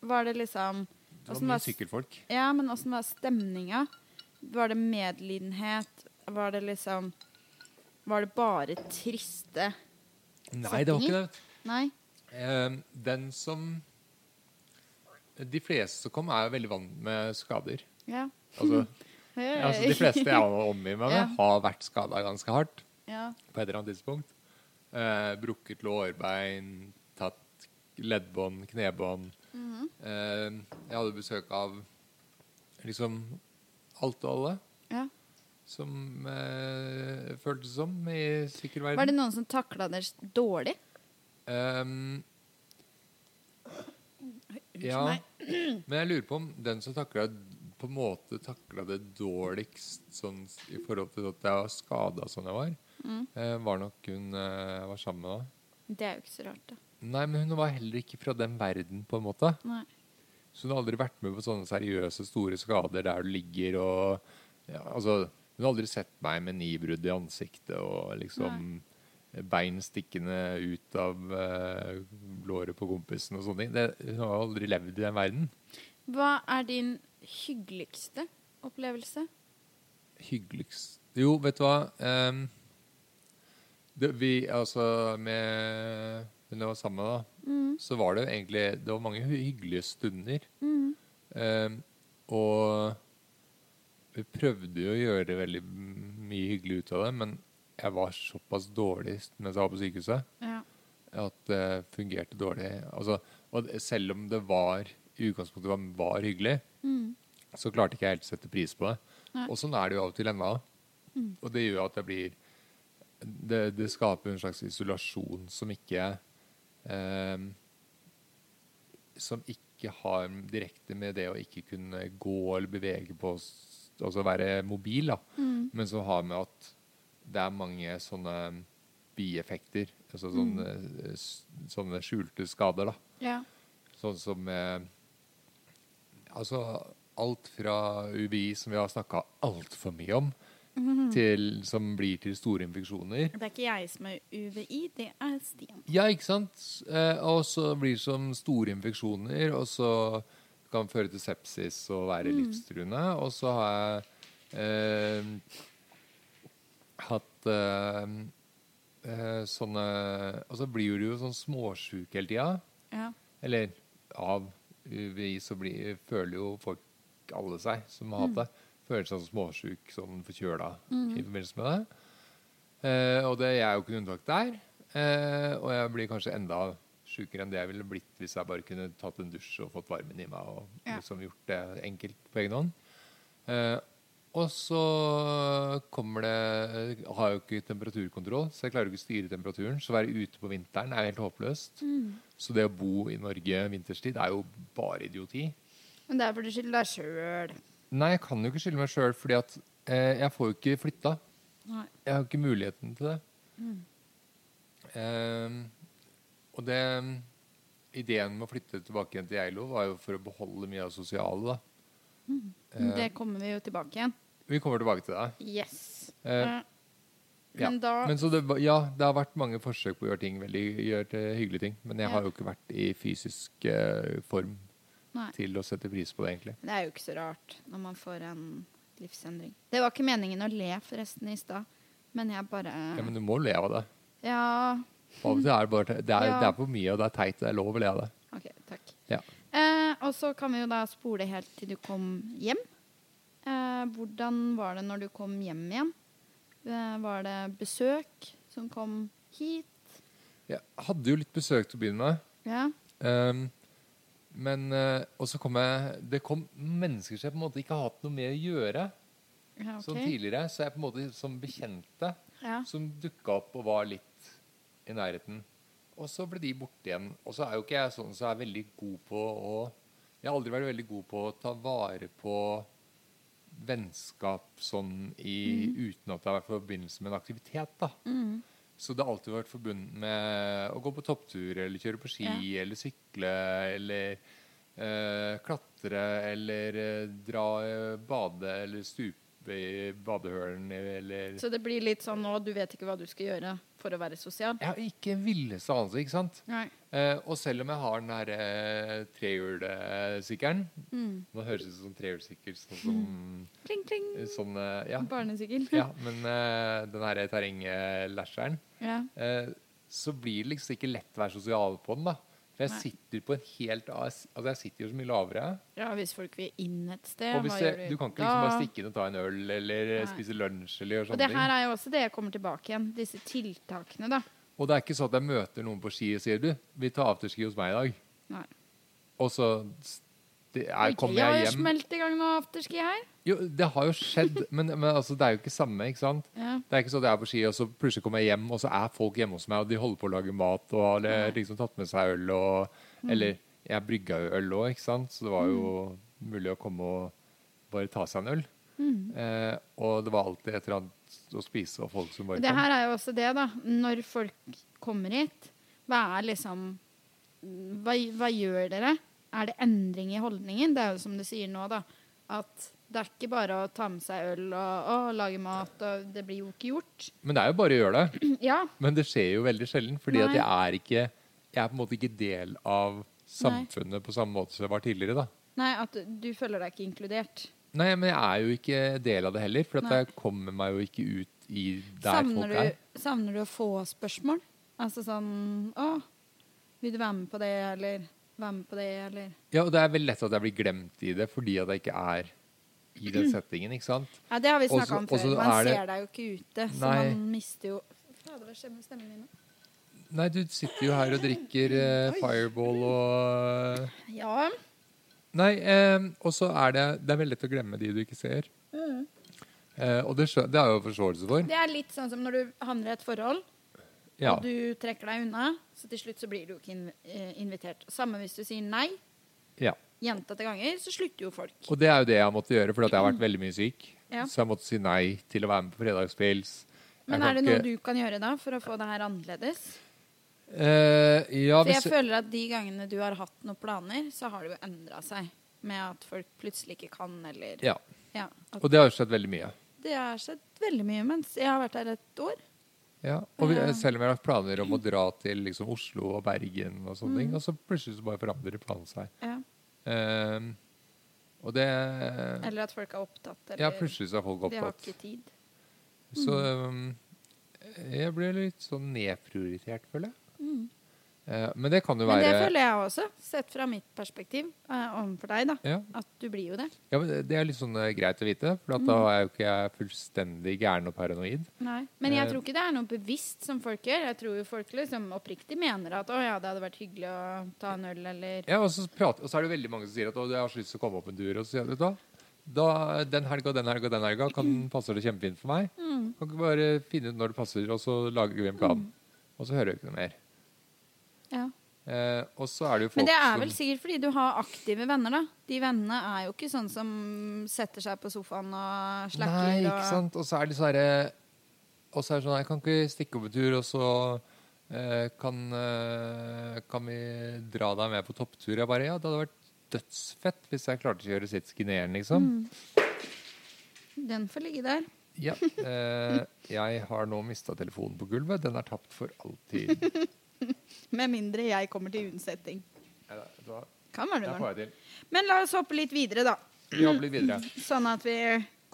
B: var det liksom
A: Det var
B: Åssen
A: mye
B: var s-
A: sykkelfolk.
B: Ja, men åssen var stemninga? Var det medlidenhet? Var det liksom Var det bare triste?
A: Nei, det var ikke det.
B: Nei?
A: Eh, den som De fleste som kom, er jo veldig vant med skader.
B: Ja.
A: Altså, altså De fleste jeg har omgitt meg med,
B: Ja.
A: har vært skada ganske hardt
B: ja.
A: på et eller annet tidspunkt. Eh, brukket lårbein, tatt leddbånd, knebånd.
B: Mhm.
A: eh, jeg hadde besøk av liksom alt og alle.
B: ja.
A: som eh, føltes som i sikker
B: Var det
A: verden.
B: noen som takla det dårlig?
A: Ehm,
C: Unnskyld
A: ja,
C: meg.
A: men jeg lurer på om den som takla på en måte takla det dårligst sånn, i forhold til at jeg var skada som jeg var, eh, var nok hun eh, jeg var sammen med da.
B: Det er jo ikke så rart, da.
A: Nei, men hun var heller ikke fra den verden, på en måte.
B: Nei.
A: Så hun har aldri vært med på sånne seriøse, store skader der du ligger og ja, Altså, hun har aldri sett meg med nibrudd i ansiktet og liksom bein stikkende ut av eh, låret på kompisen og sånne ting. Det- Hun har aldri levd i den verden.
B: Hva er din hyggeligste opplevelse?
A: Hyggeligst Jo, vet du hva? Ehm, det, vi, altså, med Hun jeg var sammen med, da,
B: Mm,
A: så var det jo egentlig Det var mange hy- hyggelige stunder.
B: mm.
A: Ehm, og vi prøvde jo å gjøre veldig m- mye hyggelig ut av det, men jeg var såpass dårlig mens jeg var på sykehuset
B: Ja.
A: at det fungerte dårlig. Altså, og det- selv om det var i utgangspunktet var, var hyggelig,
B: Mm.
A: så klarte ikke jeg helt å sette pris på det.
B: Nei.
A: Og sånn er det jo av og til ennå. Og det gjør at jeg blir det, det skaper en slags isolasjon som ikke ehm, Som ikke har direkte med det å ikke kunne gå eller bevege på s- Altså være mobil, da. Men som har med at det er mange sånne bieffekter. Altså sånne, s- sånne skjulte skader, da.
B: ja.
A: Sånn som eh, Altså alt fra UVI, som vi har snakka altfor mye om, til, som blir til store infeksjoner.
B: Det er ikke jeg som er UVI, det er Stian.
A: Ja, ikke sant? Eh, og så blir det som store infeksjoner, og så kan det føre til sepsis og være livstruende. Og så har jeg eh, hatt eh, eh, sånne Og så blir du jo sånn småsjuk hele tida.
B: Ja.
A: Eller av UVI så blir, føler jo folk alle seg som har hatt det. Føler seg sånn småsjuk, sånn forkjøla i forbindelse med det. Eh, og det, jeg er jo ikke noe unntak der. Eh, og jeg blir kanskje enda sjukere enn det jeg ville blitt hvis jeg bare kunne tatt en dusj og fått varmen i meg og
B: Ja.
A: liksom gjort det enkelt på egen hånd. Eh, og så kommer det jeg Har jo ikke temperaturkontroll, så jeg klarer jo ikke å styre temperaturen. Så å være ute på vinteren er helt håpløst. Så det å bo i Norge vinterstid er jo bare idioti.
B: Men det er fordi du skylder deg sjøl.
A: Nei, jeg kan jo ikke skylde meg sjøl, fordi at eh, jeg får jo ikke flytta.
B: Nei.
A: Jeg har jo ikke muligheten til det.
B: Mm.
A: Ehm, og det Ideen med å flytte tilbake igjen til Geilo var jo for å beholde mye av det sosiale. da. Eh. Ehm,
B: Men Mm. Det kommer vi jo tilbake igjen.
A: Vi kommer tilbake til det.
B: Yes.
A: Eh,
B: Eh, Men da-
A: Men så det, var- ja, det har vært mange forsøk på å gjøre ting veldig gjøre til hyggelige ting. Men jeg
B: Ja.
A: har jo ikke vært i fysisk eh, form
B: Nei.
A: til å sette pris på det, egentlig.
B: Det er jo ikke så rart når man får en livsendring. Det var ikke meningen å le forresten i stad, men jeg bare
A: Ja, Men du må le av det.
B: Ja,
A: Av og til er det bare Det er,
B: Ja.
A: det er for mye, og det er teit. Det er lov å le av det.
B: OK, takk.
A: Ja.
B: Eh, og så kan vi jo da spole helt til du kom hjem. Eh, hvordan var det når du kom hjem igjen? Eh, var det besøk som kom hit?
A: Jeg hadde jo litt besøk til å begynne med.
B: Ja.
A: ehm, men eh, Og så kom jeg Det kom mennesker som jeg på en måte ikke har hatt noe med å gjøre
B: ja ok.
A: som tidligere. Så jeg på en måte som bekjente
B: Ja.
A: som dukka opp og var litt i nærheten. Og så ble de borte igjen. Og så er jo ikke jeg sånn som er veldig god på å Jeg har aldri vært veldig god på å ta vare på vennskap sånn i,
B: Mm.
A: uten at det har vært i forbindelse med en aktivitet. da. Så det har alltid vært forbundet med å gå på topptur eller kjøre på ski eller sykle eller eh, klatre eller eh, dra eh, bade eller stupe i badehølen eller
B: Så det blir litt sånn nå, du vet ikke hva du skal gjøre for å være sosial?
A: Jeg har ikke en villeste anelse, ikke sant?
B: Nei.
A: Eh, og selv om jeg har den her eh, trehjulsykkelen Nå høres det ut som trehjulssykkel, sånn som
B: Mm. Kling, kling.
A: sånn, eh, ja.
B: Barnesykkel.
A: ja, men eh, den her terrenglasheren
B: ja.
A: eh, Så blir det liksom ikke lett å være sosial på den, da. For jeg
B: Nei.
A: sitter på en helt a- Altså, jeg sitter jo så mye lavere.
B: Ja, hvis folk vil inn et sted,
A: og hvis
B: hva
A: jeg,
B: gjør
A: du kan ikke liksom bare stikke sånn inn og ta en øl eller eh,
B: Nei.
A: spise lunsj eller gjøre
B: Og det
A: sånne
B: her
A: ting.
B: er jo også det jeg kommer tilbake igjen, disse tiltakene, da.
A: Og det er ikke sånn at jeg møter noen på ski og sier du, vi tar afterski hos meg i dag.
B: Nei.
A: Og så s- det er, kommer
B: jeg
A: jeg
B: har jo
A: hjem
B: smelt i gang noe afterski her.
A: Jo, det har jo skjedd, men, men altså, det er jo ikke samme, ikke sant?
B: Ja.
A: Det er ikke sånn at jeg er på ski, og så plutselig kommer jeg hjem, og så er folk hjemme hos meg, og de holder på å lage mat, og har eh, liksom tatt med seg øl, og,
B: Mm.
A: eller jeg brygga jo øl òg, ikke sant? Så det var jo
B: Mm.
A: mulig å komme og bare ta seg en øl. Eh, og det var alltid et eller annet å spise og folk som bare
B: Det her er jo også det, da. Når folk kommer hit, hva er liksom hva, hva gjør dere? Er det endring i holdningen? Det er jo som du sier nå, da. At det er ikke bare å ta med seg øl og, og lage mat, og det blir jo ikke gjort.
A: kom. Men det er jo bare å gjøre det.
B: Ja.
A: Men det skjer jo veldig sjelden, fordi at
B: Nei.
A: jeg er ikke Jeg er på en måte ikke del av samfunnet på samme måte som jeg var tidligere, da.
B: Nei, at du- du føler deg ikke inkludert.
A: Nei, men jeg er jo ikke del av det heller, for at
B: Nei.
A: jeg kommer meg jo ikke ut i der
B: Savner
A: folk er.
B: du, savner du å få spørsmål? Altså sånn Å, vil du være med på det, eller være med på det, eller
A: Ja, og det er veldig lett at jeg blir glemt i det fordi at jeg ikke er i den settingen, ikke sant?
B: Ja, det har vi snakka
A: Også-
B: om før.
A: også
B: Man
A: er det-
B: ser deg jo ikke ute, så
A: Nei.
B: man mister jo Fader, hva skjer med stemmen min nå?
A: Nei, du sitter jo her og drikker eh, Fireball og eh,
B: Ja.
A: Nei, eh, og så er det Det er veldig lett å glemme de du ikke ser.
B: Mm.
A: Eh, og det, skjø- det har jeg jo forståelse for.
B: Det er litt sånn som når du havner i et forhold,
A: Ja.
B: og du trekker deg unna, så til slutt så blir du ikke inv- eh, invitert. Samme hvis du sier nei
A: ja.
B: gjentatte ganger, så slutter jo folk.
A: Og det er jo det jeg har måttet gjøre, fordi at jeg har vært veldig mye syk.
B: Ja.
A: Så jeg måtte si nei til å være med på fredagspils. Jeg
B: Men
A: kan
B: er det noe
A: ikke-
B: du kan gjøre da for å få det her annerledes?
A: eh, Ja,
B: For jeg
A: hvis
B: føler at de gangene du har hatt noen planer, så har det jo endra seg. Med at folk plutselig ikke kan, eller
A: Ja.
B: Ja, at
A: Og det har jo skjedd veldig mye.
B: Det har skjedd veldig mye mens jeg har vært her et år.
A: Ja, og vi,
B: Ja.
A: selv om jeg har lagt planer om å dra til liksom, Oslo og Bergen og sånne
B: Mm.
A: ting, og så plutselig så bare forandrer planene seg.
B: Ja.
A: Ehm, og det
B: Eller at folk er opptatt, eller
A: Ja, plutselig så er folk
B: de har
A: opptatt.
B: ikke Mm. tid.
A: Så ehm, jeg ble litt sånn nedprioritert, føler jeg. Eh, men det kan jo
B: Mm. Men
A: være
B: det føler jeg også, sett fra mitt perspektiv eh, overfor deg, da.
A: ja.
B: At du blir jo det.
A: ja, men det- det er litt sånn eh, greit å vite, for at da
B: Mm.
A: er jo ikke jeg fullstendig gæren og paranoid.
B: Men jeg
A: Eh.
B: tror ikke det er noe bevisst som folk gjør. Jeg tror jo folk liksom oppriktig mener at å ja, det hadde vært hyggelig å ta en øl, eller
A: Ja, og så, prater, og så er det veldig mange som sier at å, jeg har så lyst til å komme opp en tur. Og så sier jeg, vet du hva, da, den helga, den helga, den helga kan,
B: Mm.
A: passer det kjempefint for meg. Kan ikke bare finne ut når det passer, og så lager vi en plan.
B: Mm.
A: Og så hører vi ikke noe mer.
B: Ja.
A: Eh, og så er det jo folk
B: Men det er vel
A: som
B: sikkert fordi du har aktive venner, da. De vennene er jo ikke sånn som setter seg på sofaen og slakker
A: Nei, ikke
B: og-
A: sant? Og så er det sånn herre Og så er det sånn Jeg kan ikke stikke opp en tur, og så eh, kan, eh, kan vi dra deg med på topptur? Jeg bare Ja, det hadde vært dødsfett hvis jeg klarte å kjøre sitski ned igjen, liksom.
B: Mm. Den får ligge der.
A: Ja. Eh, jeg har nå mista telefonen på gulvet. Den er tapt for alltid.
B: Med mindre jeg kommer til unnsetting.
A: Neida, vet du hva?
B: Kan være du
A: Der
B: har
A: får jeg
B: den.
A: til.
B: Men la oss hoppe litt videre, da.
A: Vi hopper litt videre.
B: Sånn at vi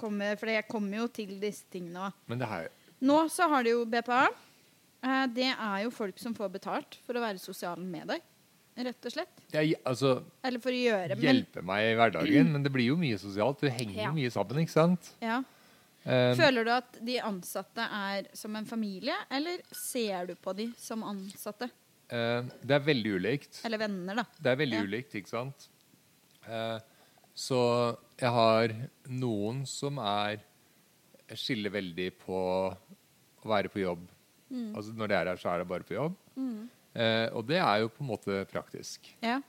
B: kommer For jeg kommer jo til disse tingene òg.
A: Men det her
B: Nå så har du jo BPA. Eh, Det er jo folk som får betalt for å være sosiale med deg. Rett og slett.
A: jeg, altså,
B: Eller for å gjøre men,
A: hjelper meg i hverdagen, men det blir jo mye sosialt. Du henger
B: Ja.
A: jo mye sammen, ikke sant?
B: ja.
A: Eh,
B: Føler du at de ansatte er som en familie, eller ser du på de som ansatte?
A: eh, det er veldig ulikt.
B: Eller venner, da.
A: Det er veldig
B: Ja.
A: ulikt, ikke sant? Eh, så jeg har noen som er skiller veldig på å være på jobb.
B: Mm.
A: Altså når de er her, så er det bare på jobb. Eh, og det er jo på en måte praktisk.
B: Ja.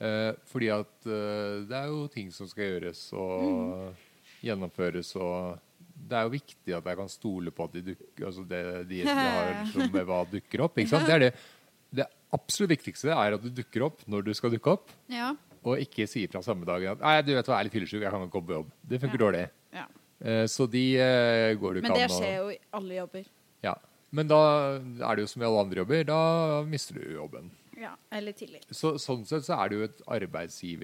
A: Eh, fordi at eh, det er jo ting som skal gjøres
B: Mm.
A: og gjennomføres, og det er jo viktig at jeg kan stole på at de dukker altså det, de gjestene jeg har som med hva dukker opp. Ikke sant? Det, er det, det absolutt viktigste er at du dukker opp når du skal dukke opp,
B: Ja.
A: og ikke sier fra samme dagen at «Nei, du vet hva, jeg er litt fyllesyk, jeg kan ikke gå på jobb. Det funker dårlig.
B: ja.
A: Eh, så de eh, går du ikke
B: Men
A: an
B: det
A: å-
B: skjer jo i alle jobber.
A: Ja. Men da er det jo som i alle andre jobber, da mister du jobben.
B: Ja. Eller tillit.
A: så, sånn sett så er det jo et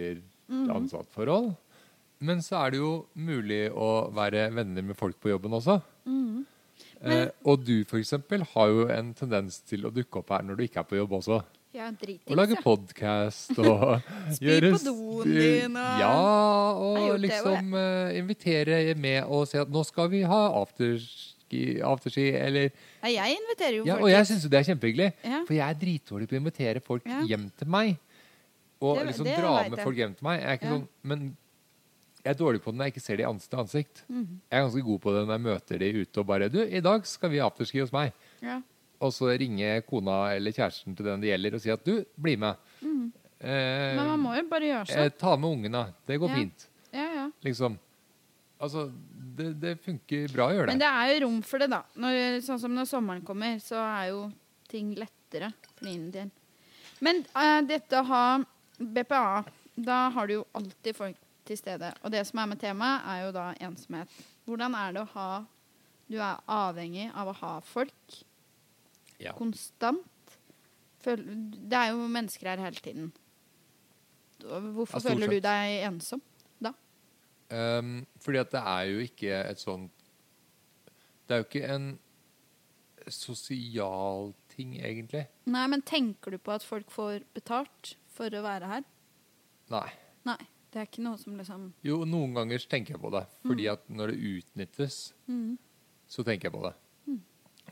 A: arbeidsgiver-ansatt-forhold.
B: Mm.
A: Men så er det jo mulig å være venner med folk på jobben også.
B: Mm.
A: Eh, og du for eksempel har jo en tendens til å dukke opp her når du ikke er på jobb også.
B: Ja,
A: Og lage
B: dritings, ja.
A: podkast og
B: Spy på
A: gjøre-
B: doen din
A: Ja,
B: og- Jeg
A: og
B: har gjort det også, jeg.
A: liksom eh, invitere med og si at nå skal vi ha afterski, afterski eller
B: Nei, Jeg inviterer jo
A: ja,
B: folk.
A: og jeg
B: hit.
A: syns jo det er kjempehyggelig.
B: Ja.
A: For jeg er dritdårlig på å invitere folk
B: Ja.
A: hjem til meg. Og
D: Det-
A: liksom
D: det
A: dra
D: vet
A: med
D: jeg.
A: folk hjem til meg. Jeg er ikke
B: Ja.
A: sånn, men jeg er dårlig på det når jeg ikke ser de ansikt til ansikt.
B: Mhm.
A: Jeg er ganske god på det når jeg møter de ute og bare Du, i dag skal vi afterski hos meg.
B: Ja.
A: Og så ringer kona eller kjæresten til den det gjelder og sier at du, bli med. Eh,
B: Mhm. Men man må jo bare gjøre
A: eh,
B: sånn.
A: ta med ungene. Det går
B: Ja.
A: fint.
B: Ja, ja.
A: Liksom. Altså, det, det funker bra å gjøre det.
B: Men det er jo rom for det, da. Når, sånn som når sommeren kommer, så er jo ting lettere for din del. Men eh, dette å ha BPA, da har du jo alltid folk til stede. Og det som er med temaet, er jo da ensomhet. Hvordan er det å ha Du er avhengig av å ha folk
A: Ja.
B: konstant. Føl, det er jo mennesker her hele tiden.
A: Ja,
B: Hvorfor
A: stort
B: føler du
A: sett.
B: deg ensom da?
A: Um, fordi at det er jo ikke et sånt Det er jo ikke en sosial ting, egentlig.
B: Nei, men tenker du på at folk får betalt for å være her?
A: Nei.
B: Nei. Det er ikke noe som liksom
A: Jo, noen ganger så tenker jeg på det. Fordi at når det utnyttes, så tenker jeg på det.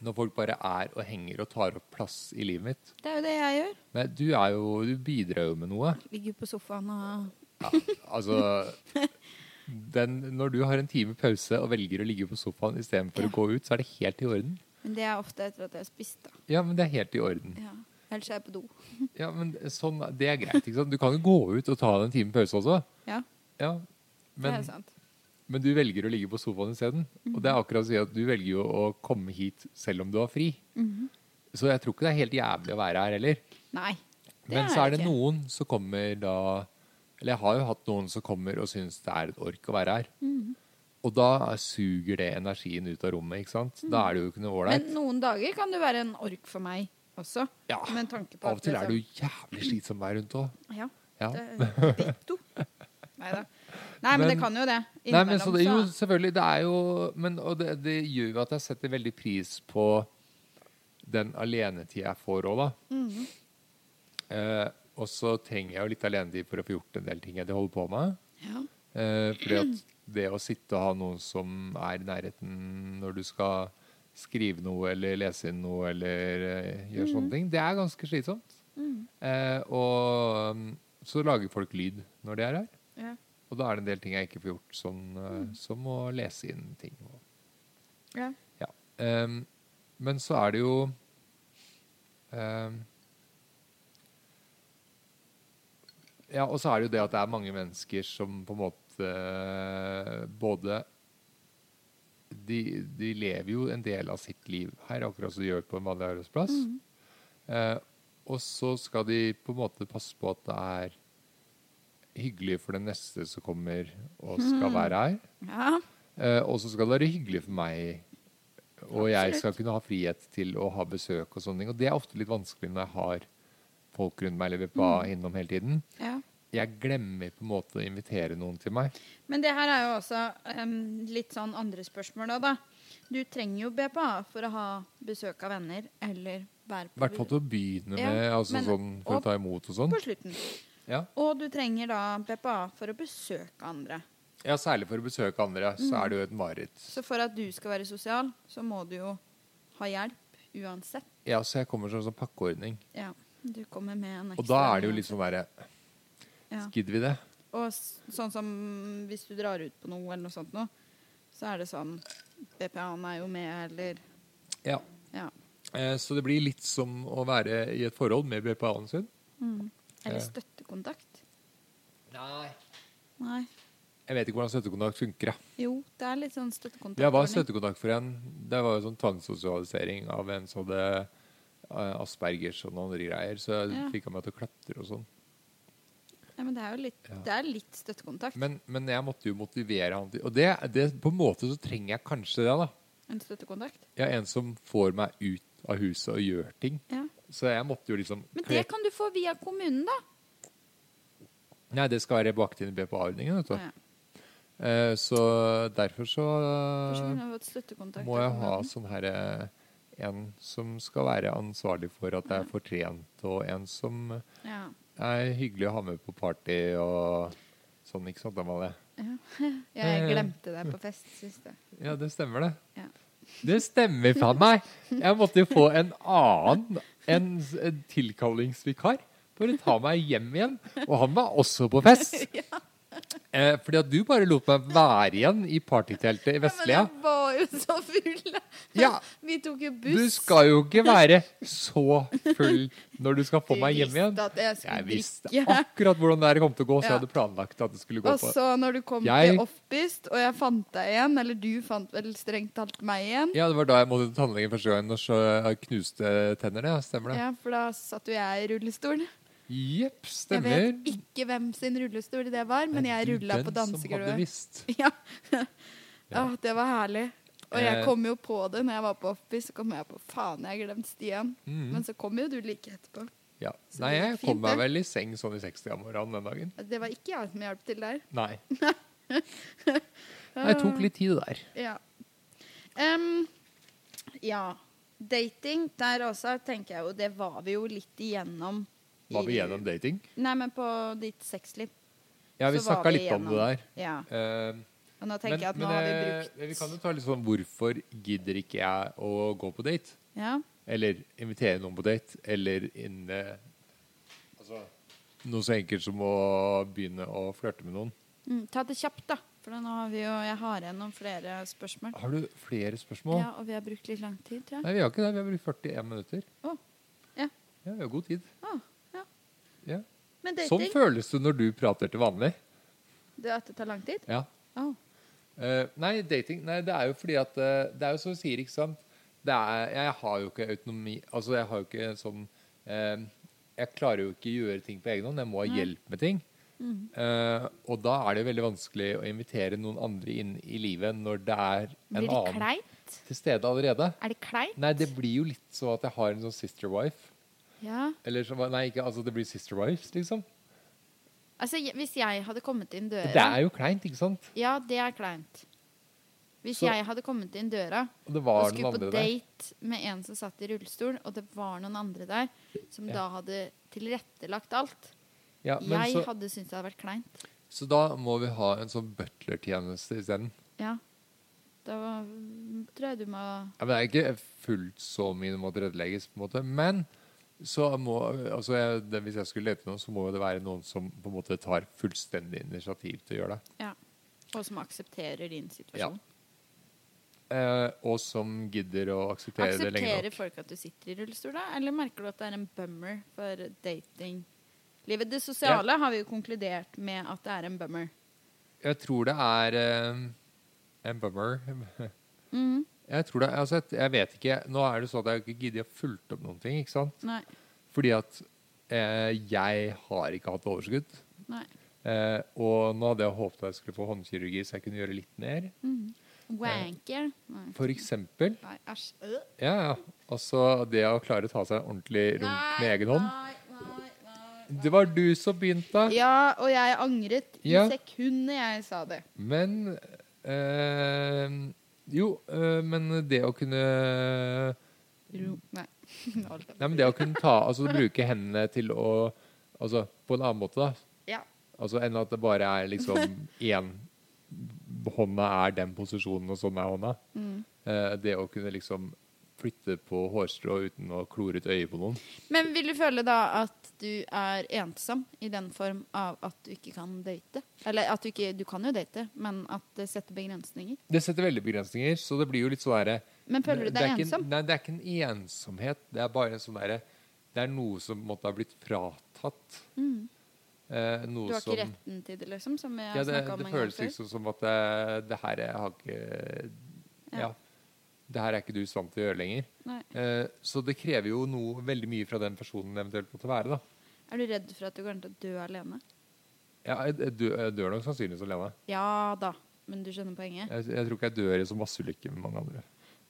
A: Når folk bare er og henger og tar opp plass i livet mitt.
B: Det er jo det jeg gjør.
A: Nei, du er jo Du bidrar jo med noe.
B: Ligger på sofaen og
A: Ja, altså den, Når du har en time pause og velger å ligge på sofaen istedenfor
B: Ja.
A: å gå ut, så er det helt i orden.
B: Men det er ofte etter at jeg har spist, da.
A: Ja, men det er helt i orden.
B: Ja. Ellers er jeg på do.
A: Ja, men sånn, Det er greit. ikke sant? Du kan jo gå ut og ta deg en time pause også.
B: Ja,
A: Ja,
B: det
A: men,
B: er sant. Mhm.
A: men du velger å ligge på sofaen isteden. Og det er akkurat å si at du velger jo å komme hit selv om du har fri. Så jeg tror ikke det er helt jævlig å være her heller.
B: Nei. Mhm. Det
A: Men
B: er
A: så er
B: det
A: det
B: ikke.
A: noen som kommer da Eller jeg har jo hatt noen som kommer og syns det er et ork å være her.
B: Mhm.
A: Og da suger det energien ut av rommet, ikke sant? Da er det jo ikke noe ålreit.
B: Men noen dager kan det være en ork for meg også.
A: Ja.
B: Med tanke på
A: Av og til er
B: liksom-
A: det jo jævlig slitsom å være rundt òg.
B: Ja.
A: Ja.
B: Det, ditto. Nei da. Nei, men,
A: Men-
B: det kan jo det.
A: Nei, men så
B: Innimellom
A: det, jo,
B: så-
A: selvfølgelig. Det er jo men, Og det, det gjør jo at jeg setter veldig pris på den alenetida jeg får òg, da.
B: Mhm.
A: Eh, og så trenger jeg jo litt alenetid for å få gjort en del ting jeg holder på med.
B: Ja.
A: Eh, fordi at det å sitte og ha noen som er i nærheten når du skal skrive noe eller lese inn noe eller eh, gjøre
B: Mhm.
A: sånne ting, det er ganske slitsomt. Eh, og mm, så lager folk lyd når de er her.
B: Ja.
A: Og da er det en del ting jeg ikke får gjort, sånn, eh, som å lese inn ting. Og,
B: Ja.
A: ja. Ehm, men så er det jo ehm, Ja, og så er det jo det at det er mange mennesker som på en måte eh, både de, de lever jo en del av sitt liv her, akkurat som de gjør på en vanlig arbeidsplass. Eh, og så skal de på en måte passe på at det er hyggelig for den neste som kommer og skal være her.
B: ja.
A: Eh, og så skal det være hyggelig for meg. Og jeg
B: Absolutt.
A: skal kunne ha frihet til å ha besøk og sånne ting. Og det er ofte litt vanskelig når jeg har folk rundt meg eller VPA
B: Mm.
A: innom hele tiden.
B: ja.
A: Jeg glemmer på en måte å invitere noen til meg.
B: Men det her er jo også em, litt sånn andre spørsmål da, da. Du trenger jo BPA for å ha besøk av venner, eller være
A: I hvert fall til å begynne
B: Ja,
A: med, altså
B: men-
A: sånn for
B: og-
A: å ta imot og sånn.
B: på slutten.
A: Ja.
B: Og du trenger da BPA for å besøke andre.
A: ja, særlig for å besøke andre, så er det jo et mareritt.
B: Mm. Så for at du skal være sosial, så må du jo ha hjelp uansett.
A: Ja, så jeg kommer som en sånn pakkeordning.
B: Ja, du kommer med en ekstra.
A: Og da er det jo litt sånn derre
B: Ja.
A: Gidder vi det?
B: Og s- sånn som hvis du drar ut på noe eller noe sånt nå, så er det sånn, BPA-en er jo med, eller...
A: Ja.
B: Ja,
A: Eh, Så det blir litt som å være i et forhold med BPA-en sin. Ja.
B: eller støttekontakt.
A: Nei.
B: Nei.
A: Jeg vet ikke hvordan støttekontakt funker. jeg.
B: Jo, det er litt sånn støttekontakt.
A: Jeg var støttekontakt for en. Det var jo sånn tvangssosialisering av en som hadde eh, aspergers og noen andre greier. Så jeg
B: Ja.
A: fikk han meg til å klatre og sånn.
B: Ja, men det er jo litt,
A: Ja.
B: det er litt støttekontakt.
A: Men, men jeg måtte jo motivere han til Og det, det, på en måte så trenger jeg kanskje det, da.
B: en støttekontakt.
A: Jeg er en som får meg ut av huset og gjør ting.
B: Ja.
A: Så jeg måtte jo liksom
B: Men det kan du få via kommunen, da.
A: Nei, det skal være bakt inn i BPA-ordningen, vet du.
B: Ja.
A: Eh, Så derfor så eh,
B: Kanskje hun har fått støttekontakt.
A: må
B: av
A: jeg ha
B: kommunen.
A: sånn her eh, En som skal være ansvarlig for at jeg får trent, og en som
B: Ja.
A: er hyggelig å ha med på party og sånn, ikke sant, Amalie? Eh,
B: Jeg glemte deg på fest, syns jeg.
A: Ja, det stemmer det.
B: Ja.
A: Det stemmer faen meg! Jeg måtte jo få en annen, en, en tilkallingsvikar for å ta meg hjem igjen. Og han var også på fest. Eh, fordi at du bare lot meg være igjen i partyteltet i Vestlia.
B: Men jeg var jo så full.
A: Ja.
B: Vi tok jo buss.
A: Du skal jo ikke være så full når du skal få
B: Du
A: meg hjem igjen.
B: visste at jeg skulle
A: Jeg visste
B: drikke.
A: akkurat hvordan det her kom til å gå, så jeg
B: Ja.
A: hadde planlagt at det skulle gå
B: Og
A: på.
B: så når du kom
A: Jeg-
B: til offbeast, og jeg fant deg igjen, eller du fant vel strengt talt meg igjen,
A: Ja, det var da jeg måtte til tannlegen første gangen, og så jeg knuste tennene. ja, Stemmer det?
B: ja, for da satt jo jeg i rullestol.
A: Jepp,
B: Jeg
A: stemmer.
B: vet ikke hvem sin rullestol det var, men jeg
A: Du,
B: rulla på
A: Den som hadde
B: dansegulvet.
A: visst.
B: Ja. Åh, det var herlig. Og jeg
A: Eh.
B: kom jo på det når jeg var på offbeast, så kom jeg på faen, jeg glemte Stian.
A: Mhm.
B: Men så kom jo du like etterpå.
A: Ja.
B: Så
A: Nei,
B: det
A: jeg
B: gikk
A: kom
B: fint,
A: meg
B: det.
A: vel i seng sånn i 60 om morgenen den dagen.
B: Det var ikke jeg som hjalp til der.
A: Nei. Nei, det tok litt tid der.
B: Ja. Em, ja. Dating, der også tenker jeg jo Det var vi jo litt igjennom. i-
A: Var vi gjennom dating?
B: Nei, men på ditt sexliv.
A: Ja, vi
B: så var
A: snakka
B: vi
A: litt om
B: igjennom.
A: det der.
B: Ja.
A: Eh,
B: Og nå tenker jeg at nå har
A: eh,
B: vi brukt
A: vi kan jo ta litt sånn hvorfor gidder ikke jeg å gå på date?
B: Ja.
A: Eller invitere noen på date? Eller inne Altså noe så enkelt som å begynne å flørte med noen.
B: Mm, ta det kjapt, da. For nå har vi jo Jeg har igjen noen flere spørsmål.
A: Har du flere spørsmål?
B: Ja, og vi har brukt litt lang tid, tror jeg.
A: Nei, vi har ikke det. Vi har brukt 41 minutter.
B: Å, ja.
A: Ja, vi har god tid.
B: Å, ja.
A: Ja.
B: Men
A: Sånn
B: dating
A: føles det når du prater til vanlig.
B: du, At det tar lang tid?
A: Ja.
B: Å,
A: Eh, nei, dating Nei, det er jo fordi at eh, Det er jo som du sier, ikke sant? Det er, jeg har jo ikke autonomi Altså, jeg har jo ikke sånn eh, Jeg klarer jo ikke gjøre ting på egen hånd. Jeg må ha hjelp med ting.
B: Mm.
A: Eh, og da er det jo veldig vanskelig å invitere noen andre inn i livet når det er en
B: Blir det
A: annen
B: kleint?
A: til stede allerede.
B: Er det kleint?
A: Nei, det blir jo litt sånn at jeg har en sånn sister wife.
B: Ja.
A: Eller så, nei, ikke, altså det blir sister wives, liksom.
B: Altså, je- hvis jeg hadde kommet inn døra
A: Det er jo kleint, ikke sant?
B: Ja, det er kleint. Hvis
A: Så-
B: jeg hadde kommet inn døra
A: Og det
B: og
A: var
B: skulle
A: noen
B: på
A: andre der.
B: date med en som satt i rullestol, og det var noen andre der som
A: Ja.
B: da hadde tilrettelagt alt
A: Ja, men
B: Jeg
A: så,
B: hadde syntes det hadde vært kleint.
A: Så da må vi ha en sånn butler-tjeneste isteden.
B: Ja. Da var- tror jeg du må
A: Ja, men Det er ikke fullt så mye det må tilrettelegges, på en måte. Men så må, altså jeg, det, hvis jeg skulle lete noen, så må jo det være noen som på en måte tar fullstendig initiativ til å gjøre det.
B: Ja. Og som aksepterer din
A: Ja.
B: situasjon.
A: Eh, og som gidder å akseptere det lenge
B: Aksepterer
A: nok.
B: folk at du sitter i rullestol, da? Eller merker du at det er en bummer for datinglivet? Det sosiale har vi jo konkludert med at det er en bummer.
A: Jeg tror det er eh, en bummer.
B: Mhm.
A: Jeg tror det, altså jeg, jeg vet ikke, Nå er det sånn at jeg ikke gidder å fulgt opp noen ting. ikke sant?
B: Nei.
A: Fordi at eh, jeg har ikke hatt overskudd.
B: Nei.
A: Eh, og nå hadde jeg håpet jeg skulle få håndkirurgi, så jeg kunne gjøre litt mer.
B: Mhm. Wanker. Nei.
A: For eksempel.
B: Nei, æsj. Øh.
A: Ja, ja. Altså det å klare å ta seg en ordentlig runk med egen hånd.
B: Nei, nei, nei.
A: Det var du som begynte,
B: Ja, og jeg angret i
A: Ja.
B: sekundet jeg sa det.
A: men eh, Jo, eh, men det å kunne
B: Ro. Nei. Hold da.
A: Nei, men det å kunne ta Altså bruke hendene til å Altså på en annen måte, da.
B: Ja.
A: Altså enn at det bare er liksom én Hånda er den posisjonen, og sånn er hånda.
B: Mhm.
A: Eh, det å kunne liksom flytte på hårstrå uten å klore et øye på noen.
B: Men vil du føle da at du er ensom i den form av at du ikke kan date? Eller at du ikke Du kan jo date, men at det setter begrensninger?
A: Det setter veldig begrensninger, så det blir jo litt sånn derre
B: Men føler du
A: Det er
B: deg
A: ikke en-
B: ensom?
A: Nei, det er ikke en ensomhet. Det er bare en sånn derre Det er noe som måtte ha blitt fratatt. Eh, noe
B: Mm. Du har
A: som
B: ikke retten til det, liksom? Som jeg
A: Ja,
B: har
A: det,
B: snakket om
A: det
B: en gang
A: føles
B: før.
A: liksom som at det, det her jeg har ikke ja. Det her er ikke du i stand til å gjøre lenger.
B: Nei.
A: Eh, så det krever jo noe veldig mye fra den personen eventuelt måtte være. da.
B: Er du redd for at du kommer til å dø alene?
A: Ja, jeg, jeg dø- jeg dør nok sannsynligvis alene.
B: Ja da, men du skjønner poenget?
A: Jeg, jeg tror ikke jeg dør i sånn masseulykke med mange andre.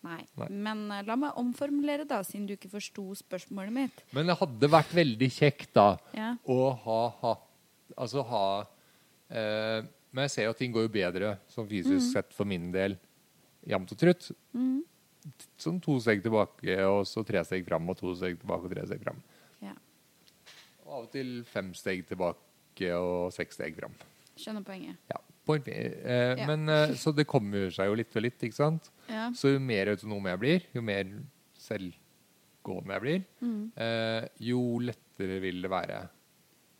B: Nei.
A: Nei.
B: Men eh, la meg omformulere, da, siden du ikke forsto spørsmålet mitt.
A: Men det hadde vært veldig kjekt, da,
B: Ja.
A: å ha hatt Altså ha eh, Men jeg ser jo at ting går jo bedre sånn fysisk
B: Mhm.
A: sett for min del, jevnt og trutt. Sånn to steg tilbake, og så tre steg fram, og to steg tilbake, og tre steg fram.
B: Ja.
A: Og av og til fem steg tilbake og seks steg fram.
B: Skjønner poenget.
A: Ja. på en- Eh,
B: Ja.
A: Men eh, Så det kommer seg jo litt og litt, ikke sant?
B: Ja.
A: Så jo mer autonom jeg blir, jo mer
B: Mm.
A: selvgående jeg blir, eh, jo lettere vil det være